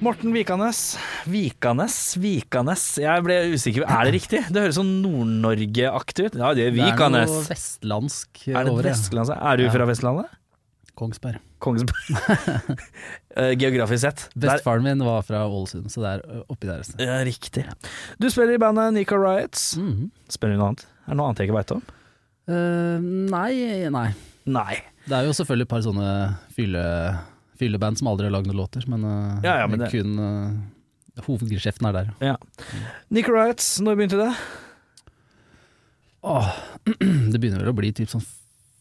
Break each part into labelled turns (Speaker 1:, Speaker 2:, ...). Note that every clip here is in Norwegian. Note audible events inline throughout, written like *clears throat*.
Speaker 1: Morten Vikanes. Vikanes, Vikanes. Jeg ble usikker. Er det riktig? Det høres sånn Nord-Norge-aktig ut. Ja, det er Vikanes.
Speaker 2: Det er noe vestlandsk
Speaker 1: Er, det
Speaker 2: over det.
Speaker 1: Vestlandet? Er du
Speaker 2: Ja.
Speaker 1: fra Vestlandet?
Speaker 2: Kongsberg.
Speaker 1: Kongsberg.
Speaker 2: *laughs*
Speaker 1: Eh, Geografisk sett. Der-
Speaker 2: Bestefaren min var fra Ålesund, så det er ø, oppi der et sted.
Speaker 1: Ja, riktig. Du spiller i bandet Nika Riots.
Speaker 2: Mhm.
Speaker 1: Spiller du noe annet? Er det noe annet jeg ikke veit om?
Speaker 2: Eh, nei, nei.
Speaker 1: Nei.
Speaker 2: Det er jo selvfølgelig et par sånne fylle, fylleband som aldri har lagd noen låter, men, eh,
Speaker 1: Ja, ja, men det-
Speaker 2: kun eh, hovedgeskjeften er der.
Speaker 1: Ja. Nika Riots, når begynte det?
Speaker 2: Åh, *clears throat* det begynner vel å bli typ sånn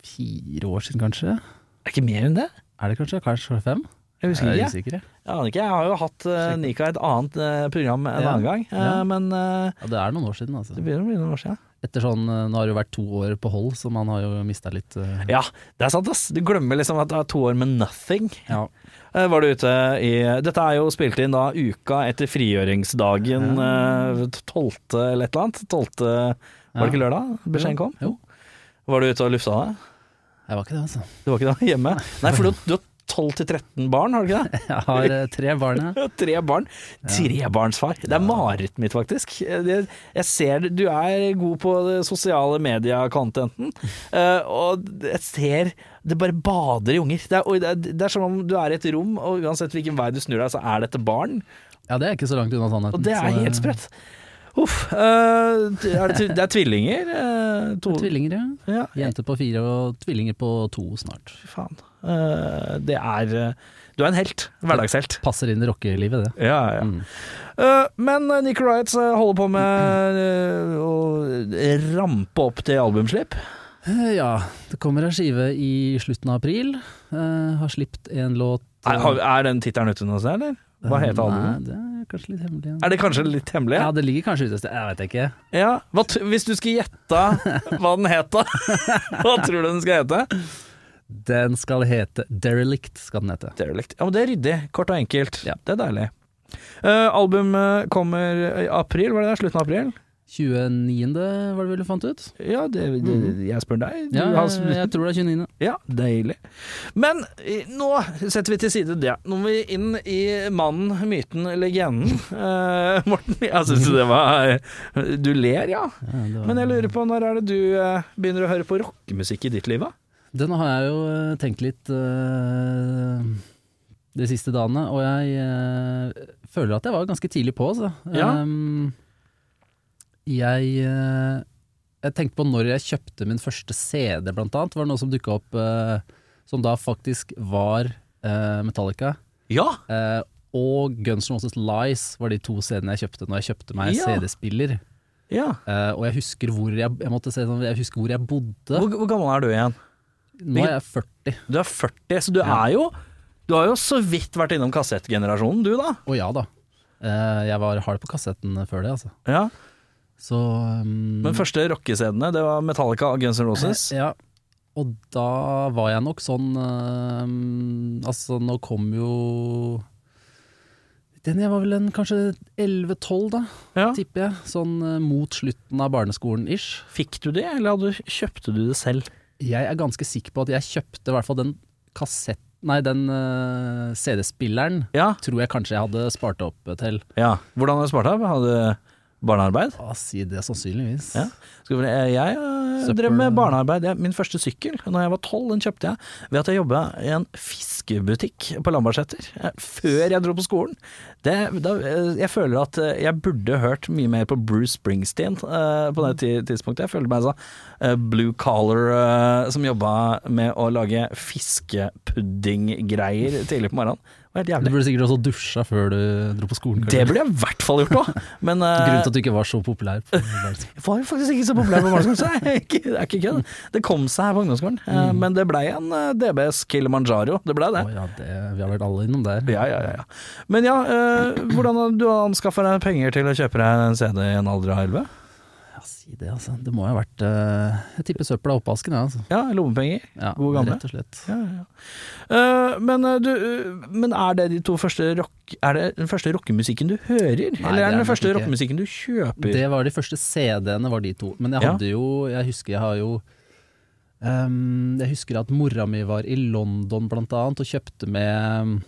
Speaker 2: fire år siden, kanskje?
Speaker 1: Er ikke mer enn det?
Speaker 2: Er det kanskje? Kanskje fem?
Speaker 1: Jeg husker
Speaker 2: Jeg
Speaker 1: ikke.
Speaker 2: er usikker. jeg.
Speaker 1: Jeg aner ikke. Jeg har jo hatt eh, Nika i et annet eh, program en
Speaker 2: Ja.
Speaker 1: annen gang, eh,
Speaker 2: Ja.
Speaker 1: men eh,
Speaker 2: Ja, det er noen år siden,
Speaker 1: det
Speaker 2: altså.
Speaker 1: begynner å bli noen år siden.
Speaker 2: Etter sånn, eh, nå har det jo vært to år på hold, så man har jo mista litt eh,
Speaker 1: Ja, det er sant, ass. Du glemmer liksom at det er to år med nothing.
Speaker 2: ja.
Speaker 1: Eh, Var du ute i Dette er jo spilt inn da uka etter frigjøringsdagen eh, 12. eller et eller annet. 12. Var det ikke lørdag beskjeden kom?
Speaker 2: Jo.
Speaker 1: Var du ute og lufta deg?
Speaker 2: Jeg var ikke det, altså.
Speaker 1: Du var ikke da hjemme? Nei, for du, du har 12 til 13 barn, har du ikke det?
Speaker 2: Jeg har eh, tre barn, jeg.
Speaker 1: Tre barn. Trebarnsfar. Det er marerittet mitt, faktisk. Eh, det- Jeg ser det- Du er god på det sosiale media-contenten, eh, og jeg ser det bare bader i unger. Det er, og det er, det er som om du er i et rom, og uansett hvilken vei du snur deg, så er dette barn.
Speaker 2: Ja, det er ikke så langt unna sannheten.
Speaker 1: Og det
Speaker 2: så eh,
Speaker 1: er helt sprøtt. Uff. øh, er det, tv- det er tvillinger? øh, to,
Speaker 2: Tvillinger, ja.
Speaker 1: Ja,
Speaker 2: Jente på fire og tvillinger på to snart.
Speaker 1: fy faen. Øh, det er øh, Du er en helt. Hverdagshelt.
Speaker 2: Passer inn i rockelivet, det. Mm.
Speaker 1: Ja, ja. Øh, men øh, Nick Wright øh, holder på med øh, å rampe opp til albumslipp.
Speaker 2: Eh, Ja, det kommer ei skive i slutten av april. Eh, har sluppet en låt
Speaker 1: Er, har- er den tittelen ute noe sted, eller? Hva heter albumet?
Speaker 2: Nei, det er kanskje litt hemmelig.
Speaker 1: Er det kanskje litt hemmelig?
Speaker 2: Ja, det ligger kanskje ute et sted, jeg vet ikke.
Speaker 1: Ja. Hva, t- hvis du skulle gjette hva den het, da? *laughs* Hva tror du den skal hete?
Speaker 2: Den skal hete Derelict, skal den hete.
Speaker 1: Derelict. Ja, men det er ryddig. Kort og enkelt.
Speaker 2: Ja.
Speaker 1: Det er deilig. Eh, albumet kommer i april, var det det? Slutten av april?
Speaker 2: 29. var det vel du fant ut?
Speaker 1: Ja, det, det, jeg spør deg. Du
Speaker 2: Mm. Ja,
Speaker 1: har-
Speaker 2: jeg, jeg tror det er 29.
Speaker 1: ja, deilig. Men eh, nå setter vi til side det. Nå må vi inn i mannen, myten, legenden. *laughs* Eh, Morten, jeg syns det var Du ler, ja.
Speaker 2: Ja, det var-
Speaker 1: Men jeg lurer på, når er det du eh, begynner å høre på rockemusikk i ditt liv, da?
Speaker 2: Den har jeg jo eh, tenkt litt eh, de siste dagene, og jeg eh, føler at jeg var ganske tidlig på. Altså.
Speaker 1: Ja.
Speaker 2: Ehm, jeg, eh, jeg tenkte på når jeg kjøpte min første CD, blant annet. Var det noe som dukka opp eh, som da faktisk var eh, Metallica.
Speaker 1: Ja!
Speaker 2: eh, og Guns N' Roses Lies var de to CD-ene jeg kjøpte når jeg kjøpte meg
Speaker 1: Ja.
Speaker 2: CD-spiller.
Speaker 1: ja.
Speaker 2: Eh, og jeg husker hvor jeg, jeg, måtte se, sånn, jeg husker hvor jeg bodde.
Speaker 1: Hvor, hvor gammel er du igjen?
Speaker 2: Nå er jeg 40.
Speaker 1: Du er 40, så du
Speaker 2: Ja.
Speaker 1: er jo Du har jo så vidt vært innom kassettgenerasjonen, du da.
Speaker 2: Å ja da. Eh, jeg var hard på kassetten før det, altså.
Speaker 1: Ja.
Speaker 2: Så um,
Speaker 1: Men første rockescenene, det var Metallica og Guns N' Roses.
Speaker 2: Ja. Og da var jeg nok sånn um, Altså, nå kom jo Den jeg var vel en kanskje 11-12, da,
Speaker 1: Ja.
Speaker 2: tipper jeg. Sånn eh, mot slutten av barneskolen ish.
Speaker 1: Fikk du det, eller hadde, kjøpte du det selv?
Speaker 2: Jeg er ganske sikker på at jeg kjøpte i hvert fall den kassett... Nei, den eh, CD-spilleren
Speaker 1: Ja.
Speaker 2: tror jeg kanskje jeg hadde spart opp til.
Speaker 1: ja. Hvordan har du spart opp? Hadde du barnearbeid?
Speaker 2: Å, si det, sannsynligvis.
Speaker 1: Ja. Skal vi, jeg jeg
Speaker 2: Søppel-
Speaker 1: drev med barnearbeid. Jeg- Min første sykkel da jeg var tolv, den kjøpte jeg ved at jeg jobba i en fiskebutikk på Lambertseter. eh, Før jeg dro på skolen. Det, da, eh, jeg føler at eh, jeg burde hørt mye mer på Bruce Springsteen eh, på det ti- tidspunktet. Jeg følte meg sånn eh, blue collar eh, som jobba med å lage fiskepuddinggreier tidlig på morgenen. Og vært
Speaker 2: Du
Speaker 1: jævlig.
Speaker 2: burde sikkert også dusja før du dro på skolen.
Speaker 1: Det
Speaker 2: kanskje.
Speaker 1: burde jeg i hvert fall gjort òg. Men eh,
Speaker 2: Grunnen til at du ikke var så populær. på
Speaker 1: *laughs*
Speaker 2: barneskolen.
Speaker 1: jeg var jo faktisk ikke så populær på barneskolen, så jeg er ikke- det er ikke kødd. Det kom seg her på ungdomsskolen. Eh,
Speaker 2: Mm.
Speaker 1: Men det blei en eh, DBS Kilimanjaro. Det blei det.
Speaker 2: Å ja, det, vi har vært alle innom der.
Speaker 1: Ja, ja, ja, ja. Men ja, eh, hvordan har du anskaffa deg penger til å kjøpe deg en CD i en alder av 11?
Speaker 2: Ja, si det, altså. Det må jo ha vært eh, Jeg tipper søpla og oppvasken, ja, altså.
Speaker 1: Ja, lommepenger.
Speaker 2: Ja,
Speaker 1: Gode gamle.
Speaker 2: Rett og slett.
Speaker 1: Ja, ja, ja. Eh, men, eh, du, eh, men er det de to første rock, Er det den første rockemusikken du hører? eller er
Speaker 2: det er
Speaker 1: det den
Speaker 2: nok
Speaker 1: første
Speaker 2: ikke.
Speaker 1: rockemusikken du kjøper?
Speaker 2: Det var de første CD-ene, var de to. Men jeg
Speaker 1: Ja.
Speaker 2: hadde jo Jeg husker jeg har jo ehm, Jeg husker at mora mi var i London blant annet og kjøpte med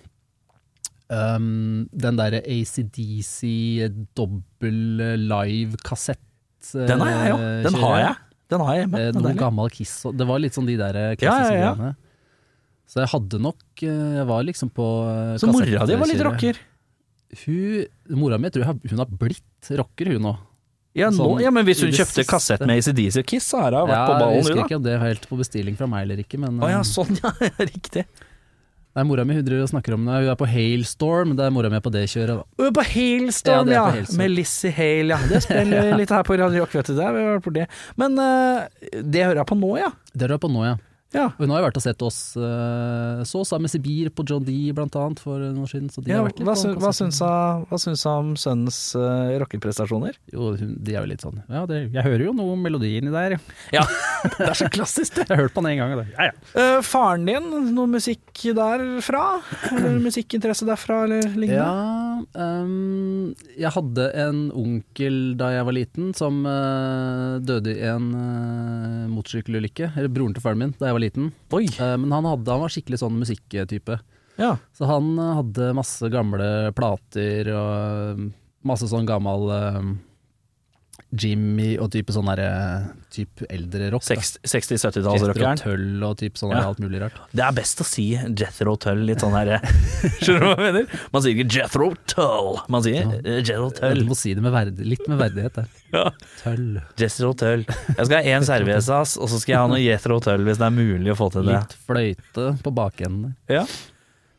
Speaker 2: ehm, den derre ACDC eh, dobbel eh, live kassett. eh,
Speaker 1: den har jeg jo. Den
Speaker 2: kjører.
Speaker 1: har jeg. Den har jeg hjemme.
Speaker 2: Eh,
Speaker 1: Den
Speaker 2: Noe
Speaker 1: deilige.
Speaker 2: gammel Kiss og Det var litt sånn de der eh,
Speaker 1: Ja, ja,
Speaker 2: klassiske
Speaker 1: ja.
Speaker 2: greiene. Så jeg hadde nok eh, Jeg var liksom på eh,
Speaker 1: Så mora di var litt
Speaker 2: kassettkjøret.
Speaker 1: rocker.
Speaker 2: Hun, mora mi jeg tror jeg- hun har blitt rocker, hun nå.
Speaker 1: Ja, nå,
Speaker 2: Sånn,
Speaker 1: ja, men hvis
Speaker 2: i
Speaker 1: hun
Speaker 2: det
Speaker 1: kjøpte
Speaker 2: siste.
Speaker 1: kassett med ACDC og Kiss, så har hun vært på ballen,
Speaker 2: Jeg husker
Speaker 1: hun da.
Speaker 2: ikke om det er helt på bestilling fra meg eller ikke, men
Speaker 1: Å ja,
Speaker 2: eh,
Speaker 1: sånn *laughs* ja, riktig.
Speaker 2: nei, mora mi hun driver og snakker om det. Hun er på Hailstorm, det er mora mi er på det kjøret. da.
Speaker 1: Å, På Hailstorm,
Speaker 2: Ja, det er
Speaker 1: ja!
Speaker 2: på Hailstorm.
Speaker 1: Med Lizzie Hale, ja. Det
Speaker 2: *laughs*
Speaker 1: spiller vi litt her på Radio Rock, vet du. Det. har vi vært på det. Men eh, det hører jeg på nå, ja.
Speaker 2: Det er hun på nå, ja.
Speaker 1: ja.
Speaker 2: Og Hun har jo vært og sett oss eh, så sammen med Sibir på John D blant annet for noen år siden. Så de
Speaker 1: ja
Speaker 2: har vært litt
Speaker 1: hva,
Speaker 2: på
Speaker 1: sy hva,
Speaker 2: konsert.
Speaker 1: syns hun, hva syns hun om sønnens uh, rockeprestasjoner?
Speaker 2: Jo, hun, de er jo litt sånn Ja, det, jeg hører jo noe om melodien i *laughs* der. Jeg
Speaker 1: Ja, *laughs* det er så klassisk, det.
Speaker 2: har hørt på den en gang. og det- Ja, ja.
Speaker 1: Eh, faren din, noe musikk derfra? Eller musikkinteresse derfra, eller lignende?
Speaker 2: Ja, ehm, jeg hadde en onkel da jeg var liten som eh, døde i en eh, motorsykkelulykke. Eller broren til faren min da jeg var liten.
Speaker 1: Oi.
Speaker 2: Eh, men han, hadde, han var skikkelig sånn musikktype.
Speaker 1: Ja.
Speaker 2: Så han eh, hadde masse gamle plater og eh, masse sånn gammel eh, Jimmy og type sånn derre Type eldre rock. da.
Speaker 1: 60-70-tallsrockeren.
Speaker 2: Jethro Tull og type sånn
Speaker 1: Ja.
Speaker 2: der alt mulig rart.
Speaker 1: Det er best å si Jethro Tull litt sånn her *laughs* Skjønner du hva jeg mener? Man sier ikke Jethro Tull, man sier eh, Jethro Tull.
Speaker 2: Du må si det med verdi, litt med verdighet der.
Speaker 1: Ja.
Speaker 2: Tull.
Speaker 1: Jethro Tull. Jeg skal ha én cerveza, *laughs* ass, og så skal jeg ha noe Jethro Tull hvis det er mulig å få til det.
Speaker 2: Litt fløyte på bakenden der.
Speaker 1: Ja.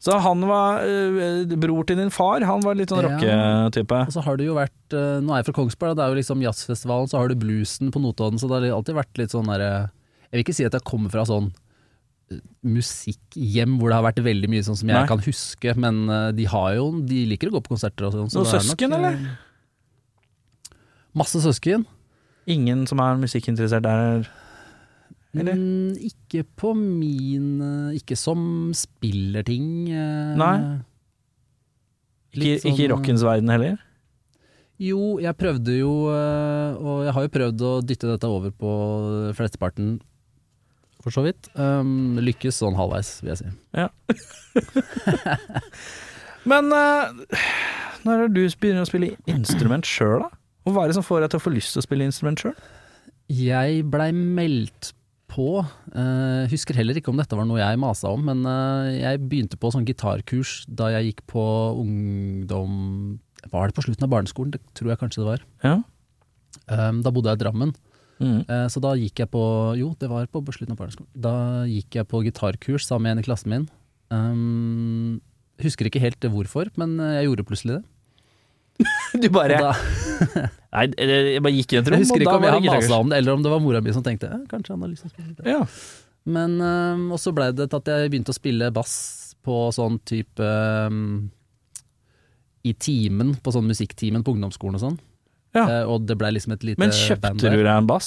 Speaker 1: Så han var eh, bror til din far, han var litt sånn
Speaker 2: Ja.
Speaker 1: rocketype.
Speaker 2: Og så har det jo vært eh, Nå er jeg fra Kongsberg, da, det er jo liksom jazzfestivalen, så har du bluesen på Notodden, så det har alltid vært litt sånn derre Jeg vil ikke si at jeg kommer fra sånn eh, musikkhjem hvor det har vært veldig mye sånn som jeg
Speaker 1: Nei.
Speaker 2: kan huske, men eh, de har jo De liker å gå på konserter og sånn. så
Speaker 1: Noen
Speaker 2: det er
Speaker 1: søsken,
Speaker 2: nok, eh,
Speaker 1: eller?
Speaker 2: Masse søsken.
Speaker 1: Ingen som er musikkinteressert der? Eller?
Speaker 2: Mm, ikke på min eh, Ikke som spiller ting. eh,
Speaker 1: Nei. Ikke,
Speaker 2: litt sånn,
Speaker 1: ikke i rockens verden heller?
Speaker 2: Jo, jeg prøvde jo, øh, og jeg har jo prøvd å dytte dette over på flesteparten, for så vidt. Um, lykkes sånn halvveis, vil jeg si.
Speaker 1: *laughs* Men eh, når er det du begynner å spille instrument sjøl, da? Og Hva er det som får deg til å få lyst til å spille instrument sjøl?
Speaker 2: Jeg blei meldt på, øh, husker heller ikke om dette var noe jeg masa om, men øh, jeg begynte på sånn gitarkurs da jeg gikk på ungdom Var det på slutten av barneskolen? Det tror jeg kanskje det var.
Speaker 1: Ja.
Speaker 2: Um, da bodde jeg i Drammen.
Speaker 1: Mm.
Speaker 2: Eh, Så da gikk jeg på Jo, det var på slutten av barneskolen. Da gikk jeg på gitarkurs sammen med en i klassen min. Um, husker ikke helt hvorfor, men eh, jeg gjorde plutselig det.
Speaker 1: *laughs* Du
Speaker 2: Og
Speaker 1: bare *laughs*
Speaker 2: da,
Speaker 1: Nei, eller jeg bare gikk i et rom,
Speaker 2: jeg *laughs* husker
Speaker 1: og da
Speaker 2: ikke om
Speaker 1: var
Speaker 2: jeg
Speaker 1: det
Speaker 2: har
Speaker 1: gitarkurs.
Speaker 2: masa om det, eller om det var mora mi som tenkte eh, kanskje han har lyst til å spille gitar.
Speaker 1: Ja.
Speaker 2: Men um, Og så blei det til at jeg begynte å spille bass på sånn type um, I timen, på sånn musikktimen på ungdomsskolen og sånn.
Speaker 1: Ja.
Speaker 2: Eh, og det blei liksom et lite
Speaker 1: Men
Speaker 2: band
Speaker 1: kjøpte du
Speaker 2: der.
Speaker 1: deg en bass?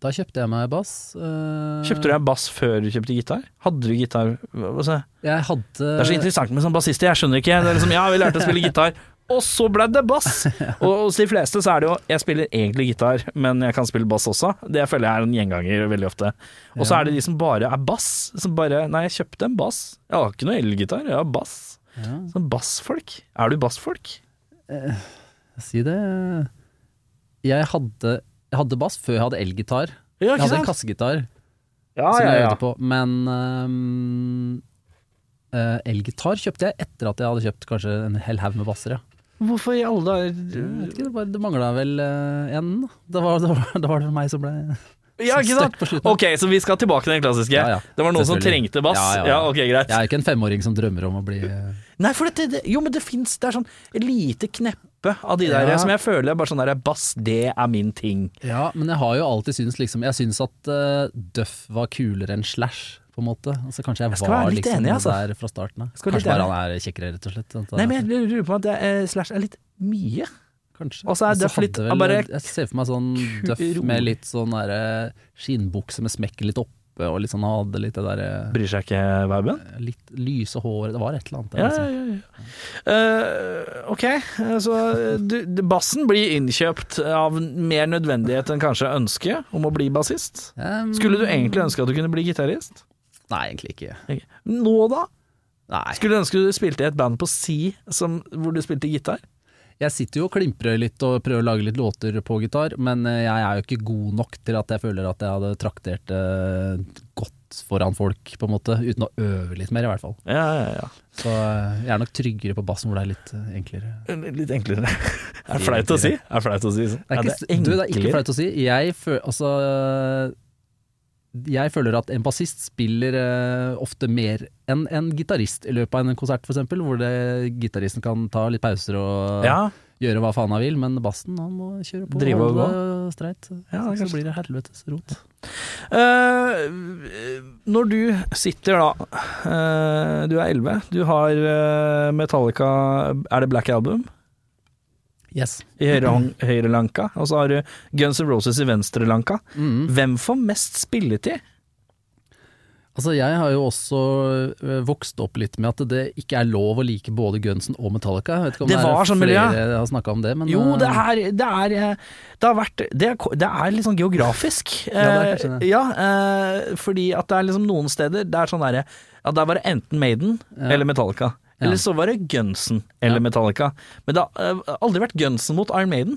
Speaker 2: Da kjøpte jeg meg bass. eh,
Speaker 1: Kjøpte du deg en bass før du kjøpte gitar? Hadde du gitar Hva- hva sa jeg?
Speaker 2: Jeg hadde
Speaker 1: Det er så interessant med sånne bassister, jeg skjønner ikke. Det er liksom, ja, vi lærte å spille gitar, og så ble det
Speaker 2: *laughs*
Speaker 1: bass! Og hos de fleste så er det jo Jeg spiller egentlig gitar, men jeg kan spille bass også. Det føler jeg er en gjenganger veldig ofte. Og så
Speaker 2: Ja.
Speaker 1: er det de som bare er bass. Som bare Nei, jeg kjøpte en bass. Jeg har ikke noe elgitar, jeg har bass.
Speaker 2: ja.
Speaker 1: Sånn bassfolk. Er du bassfolk?
Speaker 2: Si det. eh, Jeg hadde, jeg hadde bass før jeg hadde elgitar.
Speaker 1: Ja, Ah,
Speaker 2: Jeg hadde en kassegitar
Speaker 1: Ja,
Speaker 2: som
Speaker 1: ja,
Speaker 2: jeg
Speaker 1: ja.
Speaker 2: øvde på, men øhm, øh, elgitar kjøpte jeg etter at jeg hadde kjøpt kanskje en hel haug med basser, ja.
Speaker 1: Hvorfor i alle
Speaker 2: Jeg vet
Speaker 1: dager
Speaker 2: eh, ikke, det, bare- det mangla vel øh, en. da. Det var, det, var, det var det meg som ble
Speaker 1: Ja,
Speaker 2: Sånn
Speaker 1: ikke sant?
Speaker 2: støkk på slutten.
Speaker 1: Ok, så vi skal tilbake til den klassiske.
Speaker 2: Ja, ja.
Speaker 1: Det var noen som
Speaker 2: Selvfølgelig.
Speaker 1: trengte bass.
Speaker 2: Ja,
Speaker 1: Ja,
Speaker 2: ja, ja.
Speaker 1: ok, greit.
Speaker 2: Jeg er ikke en femåring som drømmer om å bli eh,
Speaker 1: Nei, for dette, det, jo, men det fins Det er sånn et lite kneppe av de der
Speaker 2: Ja.
Speaker 1: som jeg føler er bare sånn der Bass, det er min ting.
Speaker 2: Ja, men jeg har jo alltid syntes liksom Jeg syns at uh, Duff var kulere enn Slash, på en måte. Altså, kanskje jeg,
Speaker 1: Jeg skal
Speaker 2: var
Speaker 1: være litt
Speaker 2: liksom
Speaker 1: enig, altså.
Speaker 2: der fra starten av.
Speaker 1: Jeg skal være
Speaker 2: Kanskje
Speaker 1: litt
Speaker 2: bare han er kjekkere, rett og slett. sånn at-
Speaker 1: Nei, men jeg lurer på at det, eh, Slash er litt mye.
Speaker 2: eh, Kanskje.
Speaker 1: Og så er
Speaker 2: Men
Speaker 1: Duff litt-
Speaker 2: hadde
Speaker 1: han bare-
Speaker 2: Jeg ser for meg sånn Duff
Speaker 1: Ro.
Speaker 2: med litt sånn der, eh, skinnbukse med smekken litt oppe, og litt sånn han hadde litt det derre
Speaker 1: Bryr seg ikke, Vauben?
Speaker 2: Litt lyse hår Det var et eller annet der.
Speaker 1: Ja, ja,
Speaker 2: altså.
Speaker 1: ja. ja. Eh, ok, eh, så du, du- bassen blir innkjøpt av mer nødvendighet enn kanskje ønske om å bli bassist.
Speaker 2: Ehm,
Speaker 1: Skulle du egentlig ønske at du kunne bli gitarist?
Speaker 2: Nei, egentlig ikke.
Speaker 1: Ikke. Nå da?
Speaker 2: Nei.
Speaker 1: Skulle du ønske du spilte i et band på Si som, hvor du spilte gitar?
Speaker 2: Jeg sitter jo og klimprer litt og prøver å lage litt låter på gitar, men eh, jeg er jo ikke god nok til at jeg føler at jeg hadde traktert det godt foran folk, på en måte. Uten å øve litt mer, i hvert fall.
Speaker 1: Ja, ja, ja.
Speaker 2: Så eh, jeg er nok tryggere på bassen, hvor det er litt eh, enklere.
Speaker 1: Litt enklere. *laughs* Er flaut å si? Er flaut å si.
Speaker 2: Det er ikke, du, det er ikke flaut å si. Jeg, føl, altså, jeg føler at en bassist spiller eh, ofte mer enn en gitarist i løpet av en konsert, f.eks., hvor det, gitaristen kan ta litt pauser og
Speaker 1: Ja,
Speaker 2: gjøre hva faen han vil, men bassen han må kjøre på.
Speaker 1: Drive og
Speaker 2: holde det streit.
Speaker 1: ja
Speaker 2: Så,
Speaker 1: kanskje.
Speaker 2: blir det helvetes rot.
Speaker 1: Eh, når du sitter da eh, Du er 11, du har eh, Metallica Er det Black Album?
Speaker 2: Yes.
Speaker 1: I høyre, høyre lanka. Og så har du Guns N' Roses i venstre lanka.
Speaker 2: Mm.
Speaker 1: Hvem får mest spilletid?
Speaker 2: Altså, jeg har jo også ø, vokst opp litt med at det ikke er lov å like både Gunsen og Metallica. Jeg vet ikke om
Speaker 1: Det
Speaker 2: det,
Speaker 1: var
Speaker 2: er
Speaker 1: sånn
Speaker 2: flere
Speaker 1: miljø.
Speaker 2: som har snakka om det, men
Speaker 1: Jo,
Speaker 2: ø,
Speaker 1: det er Det er, eh, det har vært, det er, ko- det er litt sånn geografisk.
Speaker 2: Ja, det er kanskje det.
Speaker 1: Eh, ja, eh, fordi at det er liksom noen steder Det er sånn derre Ja, der var det enten Maiden
Speaker 2: Ja.
Speaker 1: eller Metallica.
Speaker 2: Ja.
Speaker 1: Eller så var det Gunsen eller
Speaker 2: Ja.
Speaker 1: Metallica. Men det har eh, aldri vært Gunsen mot Iron Maiden.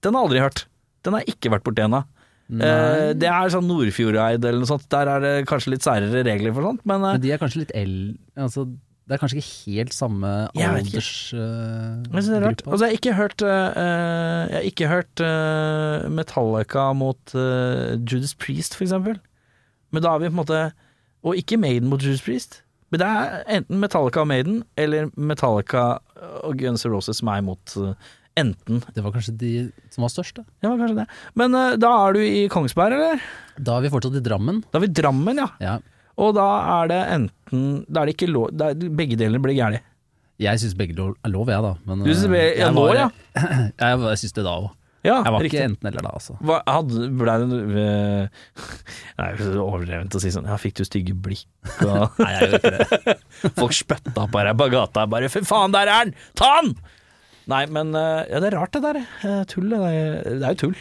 Speaker 1: Den har jeg aldri hørt. Den har jeg ikke vært borti ennå. Eh, det er sånn Nordfjordeid eller noe sånt. Der er det kanskje litt særere regler for sånt, men eh,
Speaker 2: Men de er kanskje litt el... Altså, det er kanskje ikke helt samme eh,
Speaker 1: Jeg vet ikke. jeg synes det er rart.
Speaker 2: aldersgruppe.
Speaker 1: Altså, jeg har ikke hørt, eh, eh, jeg har ikke hørt eh, Metallica mot eh, Judas Priest, for eksempel. Men da har vi på en måte Og ikke Maiden mot Judas Priest. Men det er enten Metallica og Maiden, eller Metallica eh, og Guns N' Roses som er mot eh, enten.
Speaker 2: det var kanskje de som var størst, da.
Speaker 1: Ja, kanskje det. Men eh, da er du i Kongsberg, eller?
Speaker 2: Da er vi fortsatt i Drammen.
Speaker 1: Da er vi i Drammen, ja.
Speaker 2: Ja.
Speaker 1: Og da er det enten Da er det ikke lov da er- Begge delene blir gærent.
Speaker 2: Jeg syns begge lo- er lov, jeg, da. Men,
Speaker 1: Du synes
Speaker 2: ø,
Speaker 1: begge- ja,
Speaker 2: jeg
Speaker 1: nå,
Speaker 2: var-
Speaker 1: ja.
Speaker 2: *laughs* Jeg, var- jeg syns det da òg.
Speaker 1: Ja,
Speaker 2: Jeg var
Speaker 1: riktig.
Speaker 2: ikke enten eller da, altså.
Speaker 1: Hva, hadde, ble det noe eh, *laughs* Nei, det er overdrevent å si sånn Ja, fikk du stygge blikk *laughs* og
Speaker 2: Nei, jeg gjør ikke det.
Speaker 1: Folk spytta på deg på gata og bare Fy faen, der er han! Ta han! Nei, men eh, Ja, det er rart det der. eh, Tull. Det er, det er jo tull.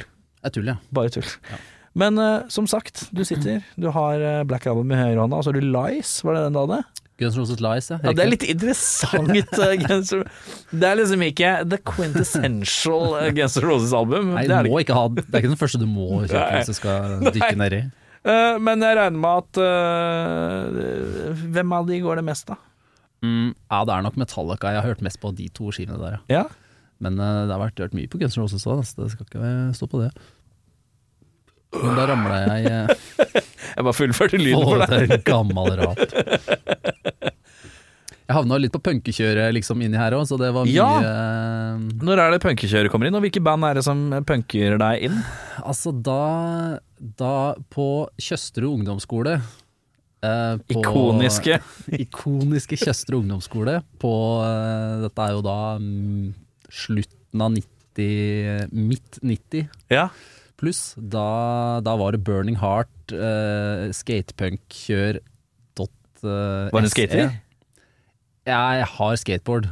Speaker 2: Jeg tuller, ja.
Speaker 1: Bare tull.
Speaker 2: Ja.
Speaker 1: Men eh, som sagt, du sitter, du har eh, Black Album i høyrehånda, og så har du Lies, var det den du hadde?
Speaker 2: Guns N' Roses Lies, ja.
Speaker 1: Ja, det er
Speaker 2: Riktig.
Speaker 1: litt interessant. eh, Guns N' Roses. det er liksom ikke the quintessential eh, Guns N' Roses-album.
Speaker 2: Nei,
Speaker 1: Det er
Speaker 2: du
Speaker 1: det
Speaker 2: må ikke ha Det er ikke den første du
Speaker 1: *laughs*
Speaker 2: må kjøpe
Speaker 1: Nei.
Speaker 2: hvis du skal
Speaker 1: *laughs* Nei.
Speaker 2: dykke nedi.
Speaker 1: Eh, men jeg regner med at eh, Hvem av de går det mest, da?
Speaker 2: Mm, ja, det er nok Metallica jeg har hørt mest på de to skivene der, ja.
Speaker 1: Ja.
Speaker 2: Men eh, det har vært hørt mye på Guns N' Roses òg, så det skal ikke stå på det. Men da ramla jeg
Speaker 1: *laughs*
Speaker 2: eh,
Speaker 1: Jeg bare fullførte lyden for
Speaker 2: over
Speaker 1: deg.
Speaker 2: til gammel
Speaker 1: *laughs*
Speaker 2: rap. Jeg havna litt på punkekjøret liksom inni her òg, så det var mye
Speaker 1: Ja.
Speaker 2: eh,
Speaker 1: Når er det punkekjøret kommer inn, og hvilke band er det som punker deg inn?
Speaker 2: Altså, da, da på Tjøsterud ungdomsskole eh, på-
Speaker 1: Ikoniske
Speaker 2: *laughs* ikoniske Tjøstre ungdomsskole på eh, Dette er jo da mm, slutten av 90, midt 90
Speaker 1: Ja.
Speaker 2: pluss. Da, da var det Burning Heart, eh, skatepunk-kjør. eh,
Speaker 1: Var det en skater?
Speaker 2: E. Jeg har skateboard.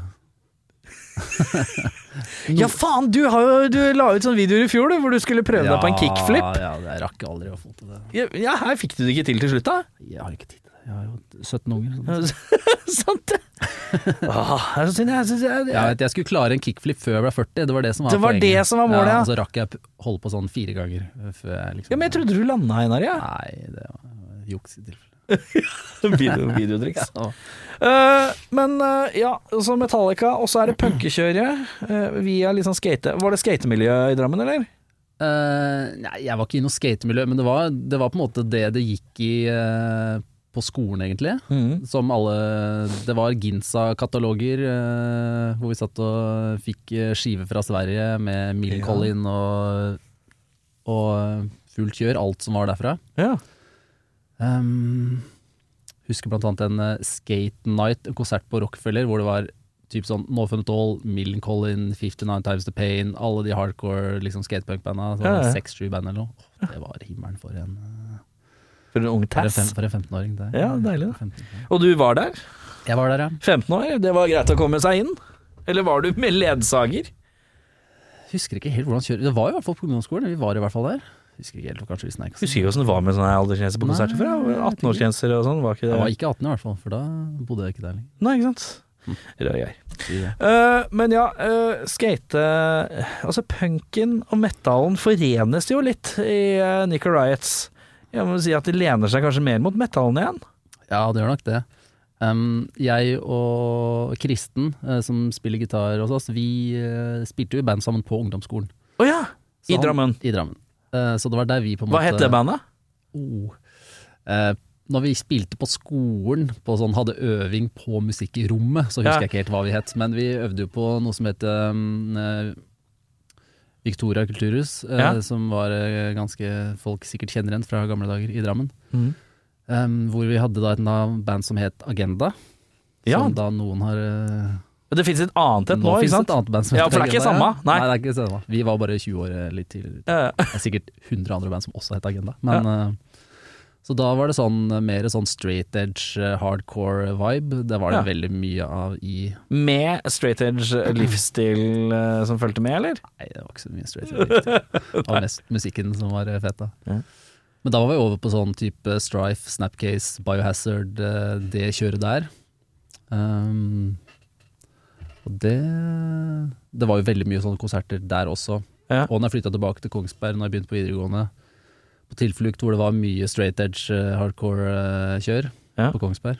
Speaker 1: Ja, faen! Du, har jo, du la ut sånne videoer i fjor du, hvor du skulle prøve deg på en kickflip.
Speaker 2: Ja, jeg rakk aldri å få til det.
Speaker 1: Ja, Ja, her fikk du det ikke til til slutt, *laughs* da.
Speaker 2: Jeg har ikke tid til det. Jeg har jo 17 unger. sånn.
Speaker 1: Sant *laughs* det? Åh, det er så synd. Jeg synes jeg,
Speaker 2: Jeg, vet, jeg skulle klare en kickflip før jeg ble 40, det var det som var
Speaker 1: Det var
Speaker 2: poenget.
Speaker 1: det som var målet, ja.
Speaker 2: og så rakk jeg p- holde på sånn fire ganger eh, før jeg liksom
Speaker 1: ja, men jeg trodde du landa, Einar. Ja.
Speaker 2: Nei, det var juks i tilfelle.
Speaker 1: *laughs* Video, videotriks.
Speaker 2: Ja.
Speaker 1: Eh, men eh, ja, så sånn Metallica, og så er det punkekjøret. eh, via liksom skate Var det skatemiljø i Drammen, eller?
Speaker 2: Eh, nei, jeg var ikke i noe skatemiljø, men det var, det var på en måte det det gikk i eh, på skolen, egentlig. Som alle Det var Ginsa-kataloger eh, hvor vi satt og fikk eh, skiver fra Sverige med
Speaker 1: Ja.
Speaker 2: Milcolin og, og eh, fullt kjør, alt som var derfra.
Speaker 1: Ja.
Speaker 2: Um, husker blant annet en eh, Skate Night, en konsert på Rockefeller, hvor det var typ sånn No Fun At All, Millen Collin, 59 Times The Pain, alle de hardcore liksom, skatepunk-banda. Så var
Speaker 1: Ja, ja.
Speaker 2: det Seks-sju band eller noe. Åh, Det var himmelen for en,
Speaker 1: For en ung
Speaker 2: for en,
Speaker 1: tass.
Speaker 2: fem, for en 15-åring. det.
Speaker 1: Ja, deilig, da.
Speaker 2: 15 -åring.
Speaker 1: Og du var der?
Speaker 2: Jeg var der, ja.
Speaker 1: 15 år, det var greit å komme seg inn? Eller var du med ledsager?
Speaker 2: Husker ikke helt hvordan kjøret Det var i hvert fall på ungdomsskolen, vi var i hvert fall der. Husker ikke helt, kanskje vi snek oss inn.
Speaker 1: Husker ikke åssen det var med sånne aldersgrenser på
Speaker 2: Nei,
Speaker 1: konserter før. ja. 18-årsgrenser og sånn, var ikke det?
Speaker 2: Jeg var ikke 18 i hvert fall, for da bodde jeg ikke der lenger.
Speaker 1: Nei, ikke Mm. sant. Rare greier.
Speaker 2: Si det.
Speaker 1: Eh, men ja, eh, skate Altså, punken og metallen forenes jo litt i uh, Nicker Riots. Jeg må si at de lener seg kanskje mer mot metallen igjen.
Speaker 2: Ja, det gjør nok det. Um, jeg og Kristen, eh, som spiller gitar hos oss, vi eh, spilte jo i band sammen på ungdomsskolen.
Speaker 1: Å ja!
Speaker 2: Så
Speaker 1: I
Speaker 2: han-
Speaker 1: Drammen.
Speaker 2: I Drammen. Eh, så det var der vi på en
Speaker 1: Hva
Speaker 2: måte
Speaker 1: het det bandet?
Speaker 2: Oh. Eh, når vi spilte på skolen, på sånn, hadde øving på musikk i rommet, så
Speaker 1: Ja.
Speaker 2: husker jeg ikke helt hva vi het, men vi øvde jo på noe som het um, eh, Victoria kulturhus, eh,
Speaker 1: Ja.
Speaker 2: som var eh, ganske folk sikkert kjenner igjen fra gamle dager i Drammen.
Speaker 1: Mm.
Speaker 2: Um, hvor vi hadde da et na- band som het Agenda.
Speaker 1: Ja.
Speaker 2: Som da noen har eh,
Speaker 1: Men Det fins et annet et nå,
Speaker 2: Nå
Speaker 1: ikke
Speaker 2: finnes
Speaker 1: sant?
Speaker 2: et annet band som
Speaker 1: Ja,
Speaker 2: heter
Speaker 1: for det er ikke
Speaker 2: Agenda, ja.
Speaker 1: samme. Nei.
Speaker 2: det er ikke samme. Vi var bare 20 år eh, litt tidligere.
Speaker 1: Eh,
Speaker 2: Det er sikkert 100 andre band som også het Agenda. Men, eh, så da var det sånn eh, mer sånn straight edge, eh, hardcore vibe. Det var
Speaker 1: Ja.
Speaker 2: det veldig mye av i
Speaker 1: Eh, med straight edge livsstil eh, som fulgte med, eller?
Speaker 2: Nei, det var ikke så mye straight edge.
Speaker 1: *laughs*
Speaker 2: Det var mest musikken som var eh, fet, da.
Speaker 1: Ja.
Speaker 2: Men da var vi over på sånn type Strife, Snapcase, Biohazard, eh, det kjøret der. Um, og det Det var jo veldig mye sånne konserter der også.
Speaker 1: Ja.
Speaker 2: Og når jeg flytta tilbake til Kongsberg når jeg begynte på videregående, på tilflukt hvor det var mye straight edge, eh, hardcore eh, kjør
Speaker 1: Ja.
Speaker 2: på Kongsberg.